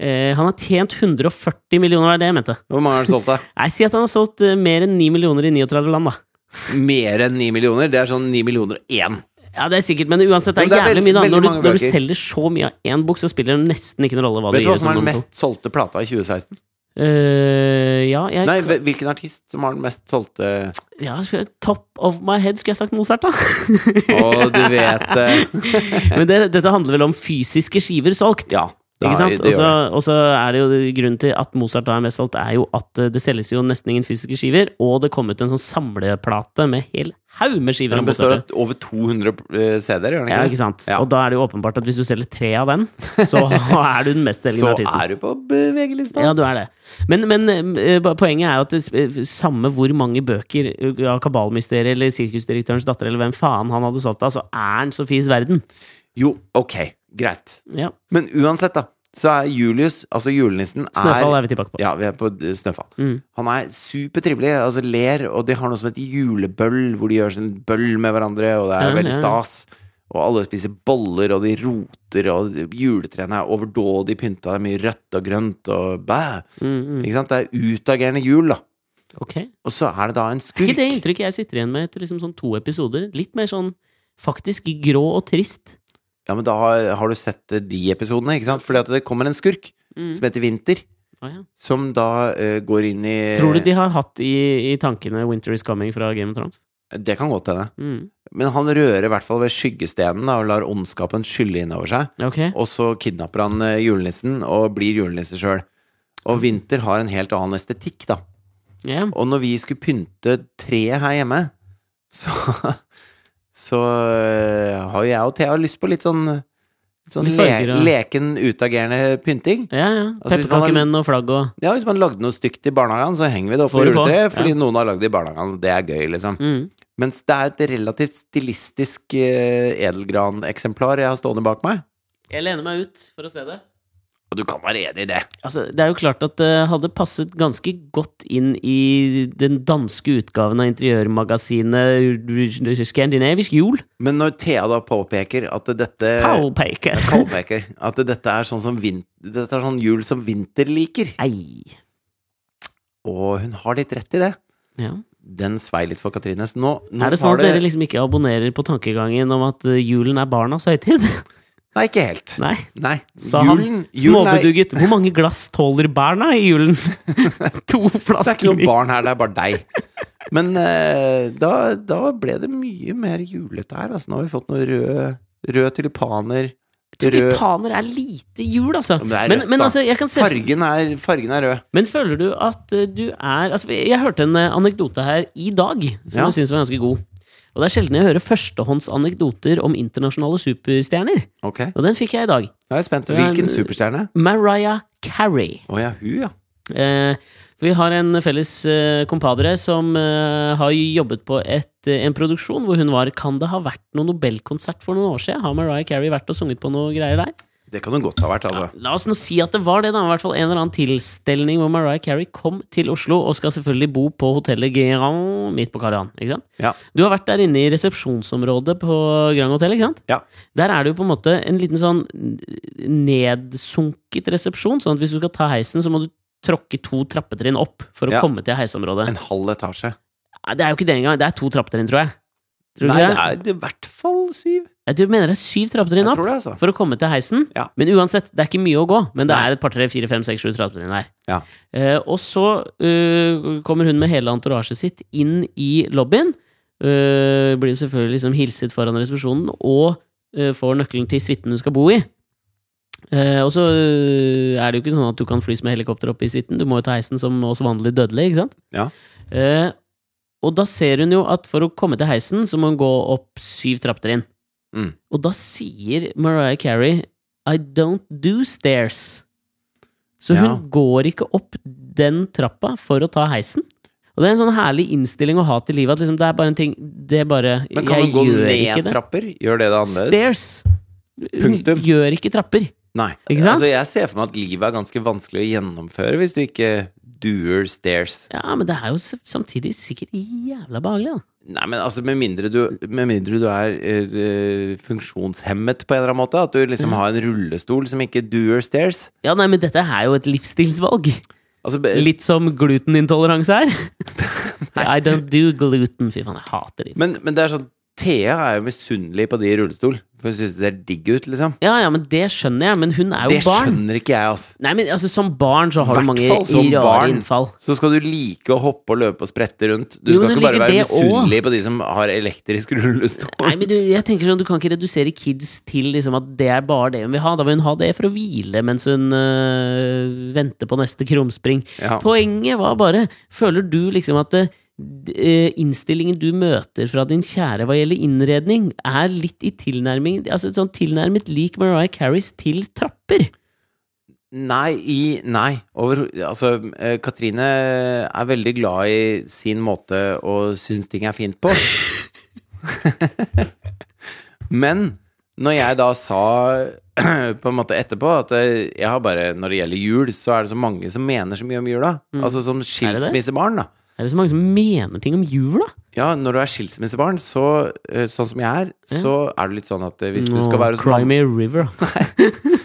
Speaker 2: eh, Han har tjent 140 millioner, det er det jeg mente.
Speaker 1: Hvor mange har han solgt, da?
Speaker 2: Jeg sier at han har solgt eh, mer enn 9 millioner i 39 land, da.
Speaker 1: Mer enn ni millioner? Det er sånn ni millioner og én.
Speaker 2: Ja, det er sikkert, men uansett, det
Speaker 1: Men
Speaker 2: er,
Speaker 1: det er
Speaker 2: jævlig
Speaker 1: veld-
Speaker 2: mye, da.
Speaker 1: veldig
Speaker 2: Når du,
Speaker 1: mange
Speaker 2: når du
Speaker 1: bøker.
Speaker 2: selger så mye av én bok, så spiller det nesten ikke noen rolle hva
Speaker 1: Vet
Speaker 2: du
Speaker 1: du hva
Speaker 2: gjør.
Speaker 1: som er
Speaker 2: som
Speaker 1: den
Speaker 2: nummer to.
Speaker 1: mest solgte plata i 2016?
Speaker 2: Eh, ja, jeg
Speaker 1: Nei, hvil- hvilken artist som har den mest solgte
Speaker 2: ja, skulle jeg- Top of my head skulle jeg sagt Mozart, da.
Speaker 1: Å, du vet eh. det!
Speaker 2: Men det, dette handler vel om fysiske skiver solgt.
Speaker 1: Ja. da-
Speaker 2: Ikke sant?
Speaker 1: det
Speaker 2: Og så,
Speaker 1: gjør det.
Speaker 2: og så er det jo grunnen til at Mozart da er mest solgt, er jo at eh, det selges jo nesten ingen fysiske skiver, og det kom ut en sånn samleplate med hel haug med skiver
Speaker 1: Den
Speaker 2: av
Speaker 1: består
Speaker 2: Mozart.
Speaker 1: av over 200 eh, CD-er, gjør den
Speaker 2: Ja,
Speaker 1: ikke
Speaker 2: ikke
Speaker 1: det?
Speaker 2: sant?
Speaker 1: Ja.
Speaker 2: Og da er det jo åpenbart at hvis du selger tre av den, så er du den
Speaker 1: Så
Speaker 2: mestselgende artisten.
Speaker 1: er du på bevegelista!
Speaker 2: Ja, du er det. Men, men eh, ba- poenget er jo at det, sp- eh, samme hvor mange bøker eh, av Kabalmysteriet eller Sirkusdirektørens datter eller hvem faen han hadde solgt av, så er han Sofies verden.
Speaker 1: Jo, ok, greit.
Speaker 2: Ja,
Speaker 1: Men uansett, da, så er Julius, altså julenissen, er
Speaker 2: Snøfall er vi tilbake på.
Speaker 1: Ja, vi er på eh, Snøfall.
Speaker 2: Mm.
Speaker 1: Han er supertrivelig, altså ler, og de har noe som heter julebøll, hvor de gjør sånn bøll med hverandre, og det er
Speaker 2: Ja,
Speaker 1: veldig
Speaker 2: ja.
Speaker 1: stas. Og alle spiser boller, og de roter, og juletrærne er overdådig pynta, det er mye rødt og grønt og bæ.
Speaker 2: Mm, mm.
Speaker 1: Ikke sant? Det er utagerende jul, da.
Speaker 2: Ok.
Speaker 1: Og så er det da en
Speaker 2: Er ikke det
Speaker 1: skurk.
Speaker 2: inntrykket jeg sitter igjen med etter liksom sånn to episoder? Litt mer sånn faktisk grå og trist.
Speaker 1: Ja, men da har, har du sett eh, de episodene, ikke sant? Fordi at det kommer en skurk
Speaker 2: Mm.
Speaker 1: som heter Vinter,
Speaker 2: Ah, ja.
Speaker 1: som da eh, går inn i
Speaker 2: Tror du de har hatt i, i tankene 'Winter is coming' fra Game of Thrones?
Speaker 1: Det kan godt hende.
Speaker 2: Mm.
Speaker 1: Men han rører i hvert fall ved skyggestenen da, og lar ondskapen skylle innover seg.
Speaker 2: Ok.
Speaker 1: Og så kidnapper han eh, julenissen og blir julenisse sjøl. Og Winter har en helt annen estetikk, da.
Speaker 2: Ja.
Speaker 1: Og når vi skulle pynte treet her hjemme, så Så eh, har jo jeg og Thea lyst på litt sånn litt Sånn
Speaker 2: Litt
Speaker 1: le
Speaker 2: farger, ja.
Speaker 1: leken, utagerende pynting.
Speaker 2: Ja, ja.
Speaker 1: Altså, hvis man har-
Speaker 2: Pepperkakemenn og flagg og
Speaker 1: Ja, Hvis man lagde noe stygt i barnehagen, så henger vi det opp på
Speaker 2: Får det på,
Speaker 1: juletreet.
Speaker 2: ja.
Speaker 1: Fordi noen har lagd det i barnehagen. Det er gøy, liksom.
Speaker 2: mm.
Speaker 1: Mens det er et relativt stilistisk eh, edelgraneksemplar jeg har stående bak meg.
Speaker 2: Jeg lener meg ut for å se det.
Speaker 1: Og du kan være enig i det.
Speaker 2: Altså, det er jo klart at det hadde passet ganske godt inn i den danske utgaven av interiørmagasinet Skandinavisk Jul.
Speaker 1: Men når Thea da påpeker at dette
Speaker 2: Powpaker.
Speaker 1: Påpeker at dette er sånn som vin- Dette er sånn jul som vinter liker.
Speaker 2: Ei.
Speaker 1: Og hun har litt rett i det.
Speaker 2: Ja.
Speaker 1: Den svei litt for Katrine. Så nå, nå
Speaker 2: Er det sånn
Speaker 1: har
Speaker 2: at dere liksom ikke abonnerer på tankegangen om at eh, julen er barnas høytid?
Speaker 1: Nei, ikke helt.
Speaker 2: Nei,
Speaker 1: Nei.
Speaker 2: sa han.
Speaker 1: Julen, julen er,
Speaker 2: Småbedugget. Hvor mange glass tåler barna i julen? to
Speaker 1: det er ikke
Speaker 2: flasker.
Speaker 1: noen barn her, det er bare deg. Men eh, da, da ble det mye mer julete her. Altså, nå har vi fått noen røde rød tulipaner. Rød
Speaker 2: Tulipaner er lite jul, altså.
Speaker 1: men det er
Speaker 2: Men,
Speaker 1: rødt,
Speaker 2: men
Speaker 1: da.
Speaker 2: altså, jeg kan se
Speaker 1: fargen er, fargen er rød.
Speaker 2: Men føler du at eh, du er altså, Jeg hørte en eh, anekdote her i dag som
Speaker 1: Ja.
Speaker 2: jeg syns var ganske god. Og det er sjelden jeg hører førstehåndsanekdoter om internasjonale superstjerner.
Speaker 1: Ok,
Speaker 2: Og den fikk jeg i dag.
Speaker 1: nå er jeg spent.
Speaker 2: Det er en-
Speaker 1: Hvilken superstjerne?
Speaker 2: Mariah Carey.
Speaker 1: Å ja, hun, ja.
Speaker 2: Eh, vi har en felles eh, kompadre som eh, har jobbet på et, eh, en produksjon hvor hun var Kan det ha vært noen Nobelkonsert for noen år siden? Har Mariah Carey vært og sunget på noe greier der?
Speaker 1: Det kan hun godt ha vært, altså.
Speaker 2: La oss nå si at det var det, da. I hvert fall en eller annen tilstelning hvor Mariah Carey kom til Oslo og skal selvfølgelig bo på hotellet Grand midt på Karl Johan. Ikke sant?
Speaker 1: Ja.
Speaker 2: Du har vært der inne i resepsjonsområdet på Grand Hotel, ikke sant?
Speaker 1: Ja.
Speaker 2: Der er det jo på en måte en liten sånn nedsunket resepsjon, sånn at hvis du skal ta heisen, så må du tråkke to trappetrinn opp for å
Speaker 1: Ja.
Speaker 2: komme til heisområdet.
Speaker 1: En halv etasje.
Speaker 2: Nei, Det er jo ikke det engang. Det er to trappetrinn, tror jeg. Tror du
Speaker 1: Nei,
Speaker 2: ikke
Speaker 1: det
Speaker 2: det?
Speaker 1: er i hvert fall syv.
Speaker 2: Jeg tror- mener det er syv trappetrinn
Speaker 1: Jeg
Speaker 2: opp
Speaker 1: tror det, altså.
Speaker 2: for å komme til heisen.
Speaker 1: Ja.
Speaker 2: Men uansett, det er ikke mye å gå. Men det
Speaker 1: Nei.
Speaker 2: er et par, tre, fire, fem, seks, sju trappetrinn her.
Speaker 1: Ja.
Speaker 2: Eh, og så eh, kommer hun med hele entorasjet sitt inn i lobbyen. Eh, blir jo selvfølgelig liksom hilset foran resepsjonen og eh, får nøkkelen til suiten du skal bo i. Eh, og så eh, er det jo ikke sånn at du kan flys med helikopter opp i suiten. Du må jo ta heisen som oss vanlig dødelige, ikke sant?
Speaker 1: Ja.
Speaker 2: Eh, og da ser hun jo at for å komme til heisen, så må hun gå opp syv trappetrinn.
Speaker 1: Mm.
Speaker 2: Og da sier Mariah Carey I don't do stairs. Så hun
Speaker 1: Ja.
Speaker 2: går ikke opp den trappa for å ta heisen. Og det er en sånn herlig innstilling å ha til livet. At liksom, det er bare en ting Det er bare
Speaker 1: Men kan hun
Speaker 2: Jeg
Speaker 1: gå
Speaker 2: gjør ikke
Speaker 1: ned
Speaker 2: det.
Speaker 1: trapper? Gjør det det annerledes?
Speaker 2: Stairs! Hun
Speaker 1: Punktum.
Speaker 2: gjør ikke trapper.
Speaker 1: Nei.
Speaker 2: Ikke sant?
Speaker 1: Altså, jeg ser for meg at livet er ganske vanskelig å gjennomføre hvis du ikke doer stairs.
Speaker 2: Ja, men det er jo s- samtidig sikkert jævla behagelig, da.
Speaker 1: Nei, men altså, med mindre du, med mindre du er eh, funksjonshemmet på en eller annen måte, at du liksom har en rullestol som ikke doer stairs
Speaker 2: Ja, nei, men dette er jo et livsstilsvalg.
Speaker 1: altså, be-
Speaker 2: Litt som glutenintoleranse er. I don't do gluten. Fy faen, jeg hater det.
Speaker 1: men, men det er sånn Thea er jo misunnelig på de i rullestol. For hun syns det ser digg ut, liksom.
Speaker 2: Ja, ja, men det skjønner jeg, men hun er jo
Speaker 1: Det
Speaker 2: barn.
Speaker 1: skjønner ikke jeg, altså.
Speaker 2: Nei, men altså, som barn så har du
Speaker 1: Hvert
Speaker 2: mange
Speaker 1: fall som
Speaker 2: rare
Speaker 1: barn.
Speaker 2: innfall.
Speaker 1: Så skal du like å hoppe og løpe og sprette rundt. Du
Speaker 2: Jo,
Speaker 1: skal
Speaker 2: men
Speaker 1: ikke bare
Speaker 2: liker
Speaker 1: være
Speaker 2: det også.
Speaker 1: misunnelig på de som har elektrisk rullestol.
Speaker 2: Nei, men du, jeg tenker sånn, du kan ikke redusere kids til liksom, at det er bare det hun vil ha. Da vil hun ha det for å hvile mens hun øh, venter på neste krumspring.
Speaker 1: Ja.
Speaker 2: Poenget var bare, føler du liksom at eh, d- eh, innstillingen du møter fra din kjære hva gjelder innredning, er litt i tilnærming Altså sånn tilnærmet lik Mariah Carries til trapper?
Speaker 1: Nei, i, nei. Over, altså, eh, Katrine er veldig glad i sin måte og syns ting er fint på. Men når jeg da sa på en måte etterpå at eh, jeg har bare, når det gjelder jul, så er det så mange som mener så mye om jula. Altså som
Speaker 2: Mm. det det?
Speaker 1: skilsmissebarn, da.
Speaker 2: Er det så mange som mener ting om jula?
Speaker 1: Ja, når du er skilsmissebarn, så, eh, sånn som jeg er, så er det litt sånn at eh, hvis du
Speaker 2: Nå,
Speaker 1: skal være hos
Speaker 2: Cry
Speaker 1: mamma
Speaker 2: me a river.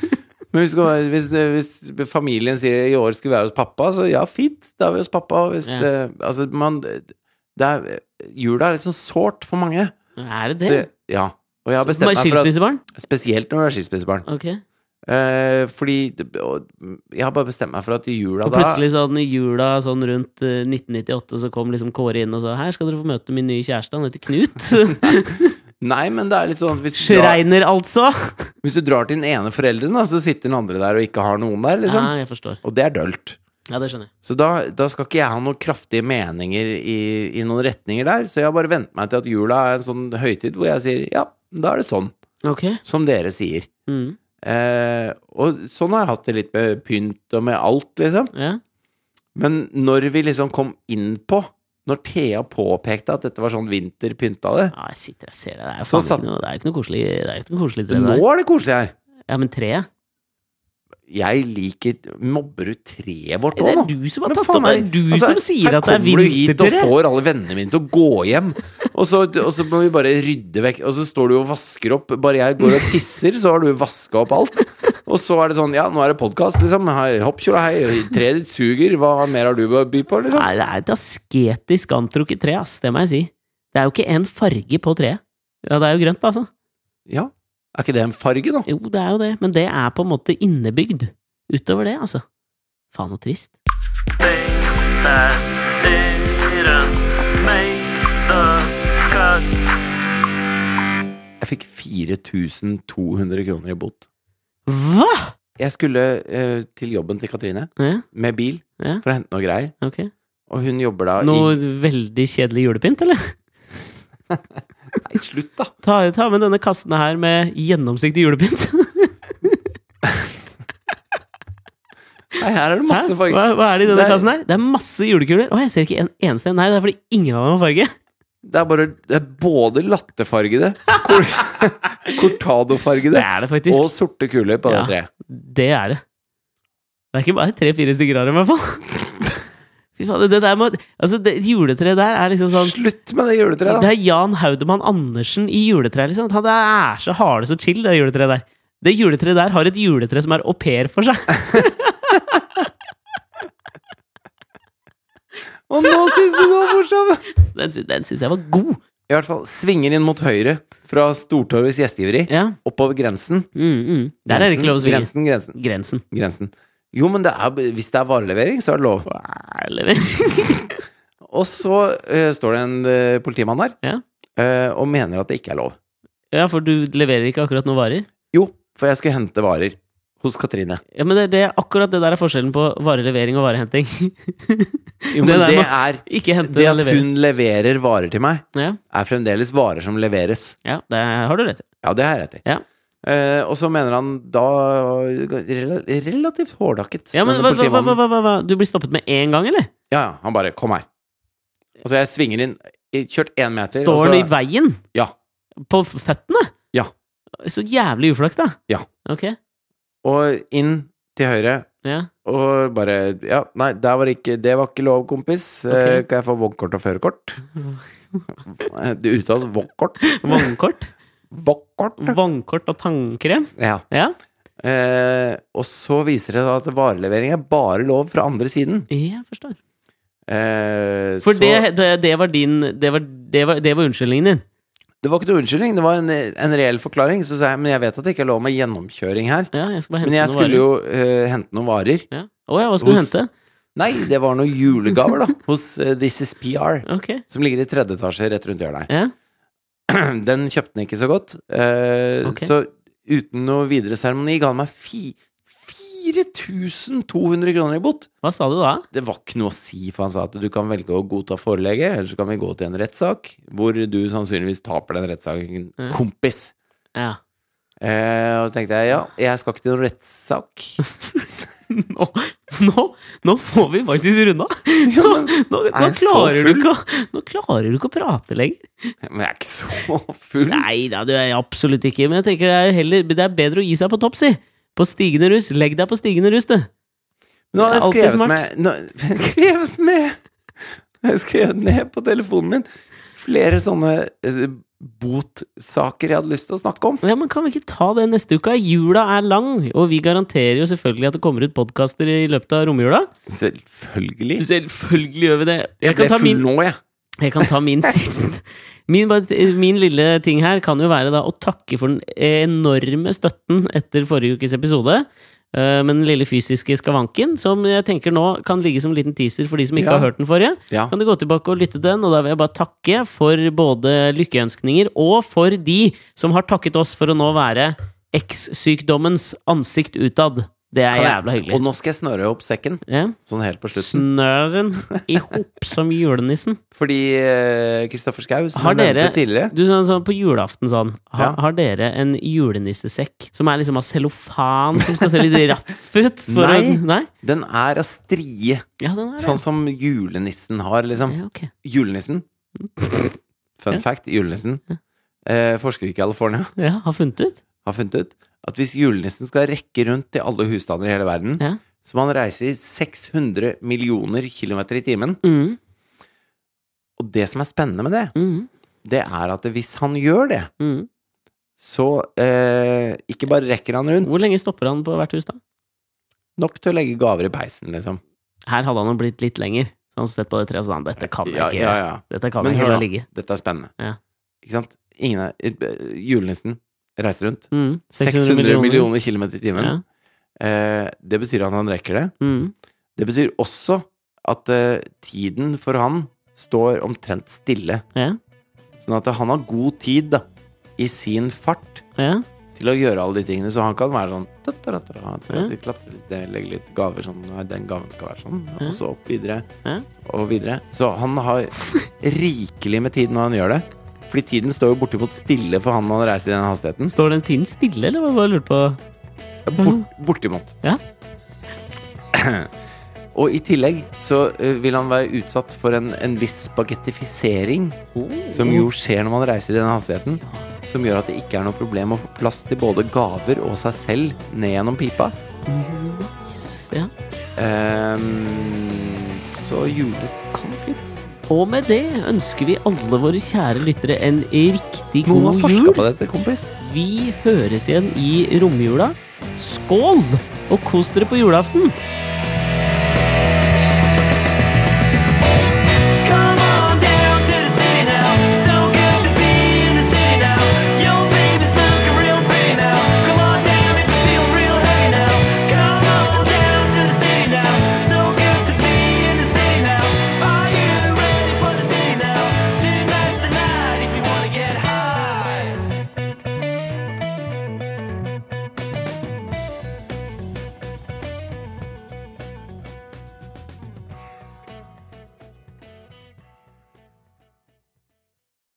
Speaker 1: Men hvis, du skal være- hvis, eh, hvis familien sier i år skulle vi være hos pappa, så ja, fint, da er vi hos pappa. Hvis,
Speaker 2: Ja.
Speaker 1: eh, altså, man det er, Jula er litt sånn sårt for mange.
Speaker 2: Er det
Speaker 1: Så,
Speaker 2: det?
Speaker 1: jeg- ja. Og jeg har
Speaker 2: Som
Speaker 1: bestemt
Speaker 2: er
Speaker 1: meg for at
Speaker 2: skilsmissebarn?
Speaker 1: Spesielt når du er skilsmissebarn.
Speaker 2: Ok.
Speaker 1: Eh, fordi det- og, Jeg har bare bestemt meg for at i jula
Speaker 2: Og
Speaker 1: da
Speaker 2: plutselig sånn i jula sånn rundt eh, 1998 så kom liksom Kåre inn og sa Her skal dere få møte min nye kjæreste, han heter Knut.
Speaker 1: Nei, men det er litt sånn at hvis du, drar,
Speaker 2: Schreiner, altså.
Speaker 1: hvis du drar til den ene forelderen, da, så sitter den andre der og ikke har noen der, liksom.
Speaker 2: Ja, jeg forstår.
Speaker 1: Og det er dølt.
Speaker 2: Ja, det skjønner jeg.
Speaker 1: Så da, da skal ikke jeg ha noen kraftige meninger i, i noen retninger der, så jeg har bare vent meg til at jula er en sånn høytid hvor jeg sier ja, da er det sånn,
Speaker 2: Ok.
Speaker 1: som dere sier.
Speaker 2: Mm.
Speaker 1: Eh, og sånn har jeg hatt det litt med pynt og med alt, liksom.
Speaker 2: Ja.
Speaker 1: Men når vi liksom kom inn på, når Thea påpekte at dette var sånn vinterpynt av det,
Speaker 2: Ja, jeg sitter og ser det. Det er,
Speaker 1: Så
Speaker 2: faen
Speaker 1: satt-
Speaker 2: ikke, noe, det er jo ikke noe koselig Det er jo ikke noe koselig tre
Speaker 1: nå
Speaker 2: der.
Speaker 1: er det koselig her.
Speaker 2: Ja, men treet?
Speaker 1: Jeg liker Mobber du treet vårt
Speaker 2: Det
Speaker 1: nå,
Speaker 2: er
Speaker 1: nå?
Speaker 2: du som har
Speaker 1: Men
Speaker 2: tatt
Speaker 1: faen
Speaker 2: opp det.
Speaker 1: er-
Speaker 2: er du
Speaker 1: altså,
Speaker 2: som sier at det
Speaker 1: Her
Speaker 2: er
Speaker 1: kommer du hit og
Speaker 2: vintertre.
Speaker 1: får alle vennene mine til å gå hjem, og så, og så må vi bare rydde vekk. Og så står du og vasker opp. Bare jeg går og tisser, så har du vaska opp alt. Og så er det sånn, ja, nå er det podkast, liksom. Hei, Hopp, kjola, hei. Treet ditt suger. Hva mer har du å by på, liksom?
Speaker 2: Nei, det er et asketisk antrukket tre, ass. Det må jeg si. Det er jo ikke en farge på treet. Ja, det er jo grønt, altså.
Speaker 1: Ja. Er ikke det en farge, da?
Speaker 2: Jo, det er jo det, men det er på en måte innebygd. Utover det, altså. Faen og trist.
Speaker 3: that didn't make the cut.
Speaker 1: Jeg fikk 4200 kroner i bot.
Speaker 2: Hva?!
Speaker 1: Jeg skulle eh, til jobben til Katrine
Speaker 2: Ja,
Speaker 1: med bil
Speaker 2: Ja.
Speaker 1: for å hente noe greier,
Speaker 2: ok.
Speaker 1: og hun jobber da
Speaker 2: Noe veldig kjedelig julepynt, eller?
Speaker 1: i Nei, slutt, da!
Speaker 2: Ta, ta med denne kassen her med gjennomsiktig julepynt.
Speaker 1: Nei, her er det
Speaker 2: Hæ?
Speaker 1: masse farger.
Speaker 2: Hva, hva er det i denne
Speaker 1: Det er-
Speaker 2: kassen her? Det er masse julekuler. Å, jeg ser ikke en eneste en. Nei, det er fordi ingen av dem har farge.
Speaker 1: Det er bare det er både lattefargede, cor
Speaker 2: Det
Speaker 1: cortadofargede
Speaker 2: er det faktisk.
Speaker 1: og sorte kuler på
Speaker 2: Ja.
Speaker 1: det treet.
Speaker 2: Det er det. Det er ikke bare tre-fire stykker av dem, i hvert fall. Fy faen, det der må Altså, det juletreet der er liksom sånn
Speaker 1: Slutt med det juletreet,
Speaker 2: Det
Speaker 1: da!
Speaker 2: er Jan Haudemann Andersen i juletreet, liksom. Han er så harde så chill, det juletreet der. Det juletreet der har et juletre som er au pair for seg.
Speaker 1: Og nå syns du det var morsomt!
Speaker 2: Den, sy- den syns jeg var god.
Speaker 1: I hvert fall svinger inn mot høyre fra Stortorvets gjestgiveri,
Speaker 2: Ja.
Speaker 1: oppover grensen.
Speaker 2: Mm, mm. Der er det ikke lov å svinge.
Speaker 1: Grensen, grensen,
Speaker 2: Grensen.
Speaker 1: grensen. Jo, men det er, hvis det er varelevering, så er det lov.
Speaker 2: Eller-
Speaker 1: Og så eh, står det en eh, politimann der
Speaker 2: Ja.
Speaker 1: eh, og mener at det ikke er lov.
Speaker 2: Ja, for du leverer ikke akkurat noen varer?
Speaker 1: Jo, for jeg skulle hente varer hos Katrine.
Speaker 2: Ja, men det, det, akkurat det der er forskjellen på varelevering og varehenting.
Speaker 1: Jo, men
Speaker 2: Det der
Speaker 1: det
Speaker 2: må-
Speaker 1: er
Speaker 2: ikke hente
Speaker 1: Det
Speaker 2: og
Speaker 1: at
Speaker 2: levere.
Speaker 1: hun leverer varer til meg,
Speaker 2: Ja,
Speaker 1: er fremdeles varer som leveres.
Speaker 2: ja, det har du rett i.
Speaker 1: Ja, det har jeg rett i.
Speaker 2: Ja.
Speaker 1: Eh, og så mener han da rela- relativt hårdakket.
Speaker 2: Ja, men
Speaker 1: denne
Speaker 2: hva, hva, hva,
Speaker 1: politimannen.
Speaker 2: hva, hva, hva? Du blir stoppet med én gang, eller?
Speaker 1: Ja, ja, han bare 'kom her'. Og så jeg svinger inn, jeg kjørt én meter
Speaker 2: Står
Speaker 1: og
Speaker 2: den
Speaker 1: så,
Speaker 2: i veien?
Speaker 1: altså- Ja.
Speaker 2: På f- føttene?
Speaker 1: Ja.
Speaker 2: Så jævlig uflaks, da.
Speaker 1: Ja.
Speaker 2: Ok.
Speaker 1: Og inn til høyre,
Speaker 2: Ja.
Speaker 1: og bare 'ja, nei, der var ikke, det var ikke lov, kompis'. Eh,
Speaker 2: Ok.
Speaker 1: kan jeg få vognkort og førerkort? Eh, det uttales vognkort.
Speaker 2: Vognkort.
Speaker 1: Vognkort.
Speaker 2: Vognkort og tannkrem.
Speaker 1: Ja.
Speaker 2: Ja.
Speaker 1: Eh, og så viser det seg at varelevering er bare lov fra andre siden.
Speaker 2: Jeg forstår.
Speaker 1: Eh,
Speaker 2: For
Speaker 1: så- Eh,
Speaker 2: det, det, det var din det var, det, var, det var unnskyldningen din.
Speaker 1: Det var ikke noe unnskyldning, det var en, en reell forklaring. Så sa jeg men jeg vet at det ikke er lov med gjennomkjøring her.
Speaker 2: Ja, jeg skal bare hente
Speaker 1: Men jeg
Speaker 2: noen varer.
Speaker 1: skulle jo eh, hente noen varer.
Speaker 2: Ja. Å ja, hva skulle du
Speaker 1: Hos-
Speaker 2: hente?
Speaker 1: Nei, det var noen julegaver, da. Hos eh, This Is PR.
Speaker 2: Ok.
Speaker 1: Som ligger i tredje etasje rett rundt hjørnet
Speaker 2: Ja.
Speaker 1: her. Den kjøpte han ikke så godt. eh,
Speaker 2: Ok.
Speaker 1: Så uten noe videre seremoni ga han meg fi 4200 kroner i bot.
Speaker 2: Hva sa du da?
Speaker 1: Det var ikke noe å si, for han sa at du kan velge å godta forelegget, eller så kan vi gå til en rettssak, hvor du sannsynligvis taper den rettssaken,
Speaker 2: Ja.
Speaker 1: kompis.
Speaker 2: Ja.
Speaker 1: Eh, og så tenkte jeg ja, jeg skal ikke til noen rettssak.
Speaker 2: Nå, nå, nå må vi faktisk runde av! Nå, nå, nå,
Speaker 1: jeg så
Speaker 2: klarer du
Speaker 1: full?
Speaker 2: ikke, å- nå klarer du ikke å prate lenger.
Speaker 1: Men jeg er ikke så full.
Speaker 2: Nei da, du er absolutt ikke Men jeg tenker det er, heller, det er bedre å gi seg på topp, si! På stigende rus. Legg deg på stigende rus, du.
Speaker 1: Nå har jeg
Speaker 2: Alltid
Speaker 1: skrevet
Speaker 2: smart.
Speaker 1: med, nå, jeg har skrevet med Jeg har skrevet ned på telefonen min flere sånne eh, botsaker jeg hadde lyst til å snakke om.
Speaker 2: Ja, men Kan vi ikke ta det neste uke? Jula er lang, og vi garanterer jo selvfølgelig at det kommer ut podkaster i løpet av romjula.
Speaker 1: Selvfølgelig.
Speaker 2: Selvfølgelig gjør vi det. Jeg
Speaker 1: Jeg
Speaker 2: kan
Speaker 1: ble
Speaker 2: ta
Speaker 1: full
Speaker 2: min,
Speaker 1: nå, jeg.
Speaker 2: jeg kan ta min sist. Min, bare- min lille ting her kan jo være da å takke for den enorme støtten etter forrige ukes episode. eh, Med den lille fysiske skavanken, som jeg tenker nå kan ligge som en liten teaser for de som ikke
Speaker 1: Ja.
Speaker 2: har hørt den forrige.
Speaker 1: Ja.
Speaker 2: Kan du gå tilbake og lytte til den, og da vil jeg bare takke for både lykkeønskninger og for de som har takket oss for å nå være X-sykdommens ansikt utad. Det er
Speaker 1: Kan jeg-
Speaker 2: jævla hyggelig.
Speaker 1: Og nå skal jeg snøre opp sekken,
Speaker 2: Ja.
Speaker 1: sånn helt på slutten.
Speaker 2: Snøren i hop som julenissen.
Speaker 1: Fordi eh, Kristoffer Schau, som
Speaker 2: Har
Speaker 1: jeg nevnte
Speaker 2: dere-
Speaker 1: tidligere
Speaker 2: Du sånn, sånn på julaften sånn ha,
Speaker 1: Ja.
Speaker 2: Har dere en julenissesekk som er liksom av cellofan som skal se litt raff ut? for
Speaker 1: Nei.
Speaker 2: å- nei?
Speaker 1: Den er av strie,
Speaker 2: Ja, den er det.
Speaker 1: sånn som julenissen har, liksom.
Speaker 2: Ja, ok.
Speaker 1: Julenissen. Fun
Speaker 2: Mm. Ja.
Speaker 1: fact, julenissen. Eh, forskere i California
Speaker 2: ja, har funnet ut?
Speaker 1: har funnet ut at hvis julenissen skal rekke rundt til alle husstander i hele verden,
Speaker 2: Ja.
Speaker 1: så må han reise i 600 millioner kilometer i timen.
Speaker 2: Mm,
Speaker 1: Og det som er spennende med det,
Speaker 2: mm,
Speaker 1: det er at hvis han gjør det,
Speaker 2: mm.
Speaker 1: så eh, ikke bare rekker han rundt
Speaker 2: Hvor lenge stopper han på hvert hus, da?
Speaker 1: nok til å legge gaver i peisen, liksom.
Speaker 2: Her hadde han jo blitt litt lenger. Så han har sett på det treet og sånn Dette kan jeg
Speaker 1: Ja,
Speaker 2: ikke,
Speaker 1: ja, ja.
Speaker 2: Dette kan
Speaker 1: Men
Speaker 2: jeg ikke
Speaker 1: hør
Speaker 2: la
Speaker 1: da.
Speaker 2: ligge.
Speaker 1: Dette er spennende.
Speaker 2: Ja.
Speaker 1: Ikke sant? Ingen er, eh, julenissen reiser rundt
Speaker 2: Mm,
Speaker 1: 600 millioner, kilometer i timen.
Speaker 2: Ja.
Speaker 1: Eh, det betyr at han rekker det.
Speaker 2: Mm.
Speaker 1: Det betyr også at eh, tiden for han står omtrent stille.
Speaker 2: Ja,
Speaker 1: Sånn at han har god tid da, i sin fart
Speaker 2: ja.
Speaker 1: til å gjøre alle de tingene. Så han kan være sånn tataratra, klatre litt, legge litt gaver sånn nei, Den gaven skal være sånn, og så opp videre
Speaker 2: Ja.
Speaker 1: og videre. Så han har rikelig med tid når han gjør det. Fordi tiden står jo bortimot stille for han når han reiser i den hastigheten.
Speaker 2: Står den tiden stille, eller var det bare lurt på
Speaker 1: Bort, bortimot.
Speaker 2: Ja.
Speaker 1: Og i tillegg så eh, vil han være utsatt for en, en viss spagettifisering, som jo skjer når man reiser i den hastigheten. Som gjør at det ikke er noe problem å få plass til både gaver og seg selv ned gjennom pipa.
Speaker 2: ja.
Speaker 1: Ehm, så julest kan fins.
Speaker 2: Og med det ønsker vi alle våre kjære lyttere en riktig
Speaker 1: Noen har
Speaker 2: god
Speaker 1: forska
Speaker 2: jul.
Speaker 1: på dette, kompis.
Speaker 2: Vi høres igjen i romjula. Skål! Og kos dere på julaften!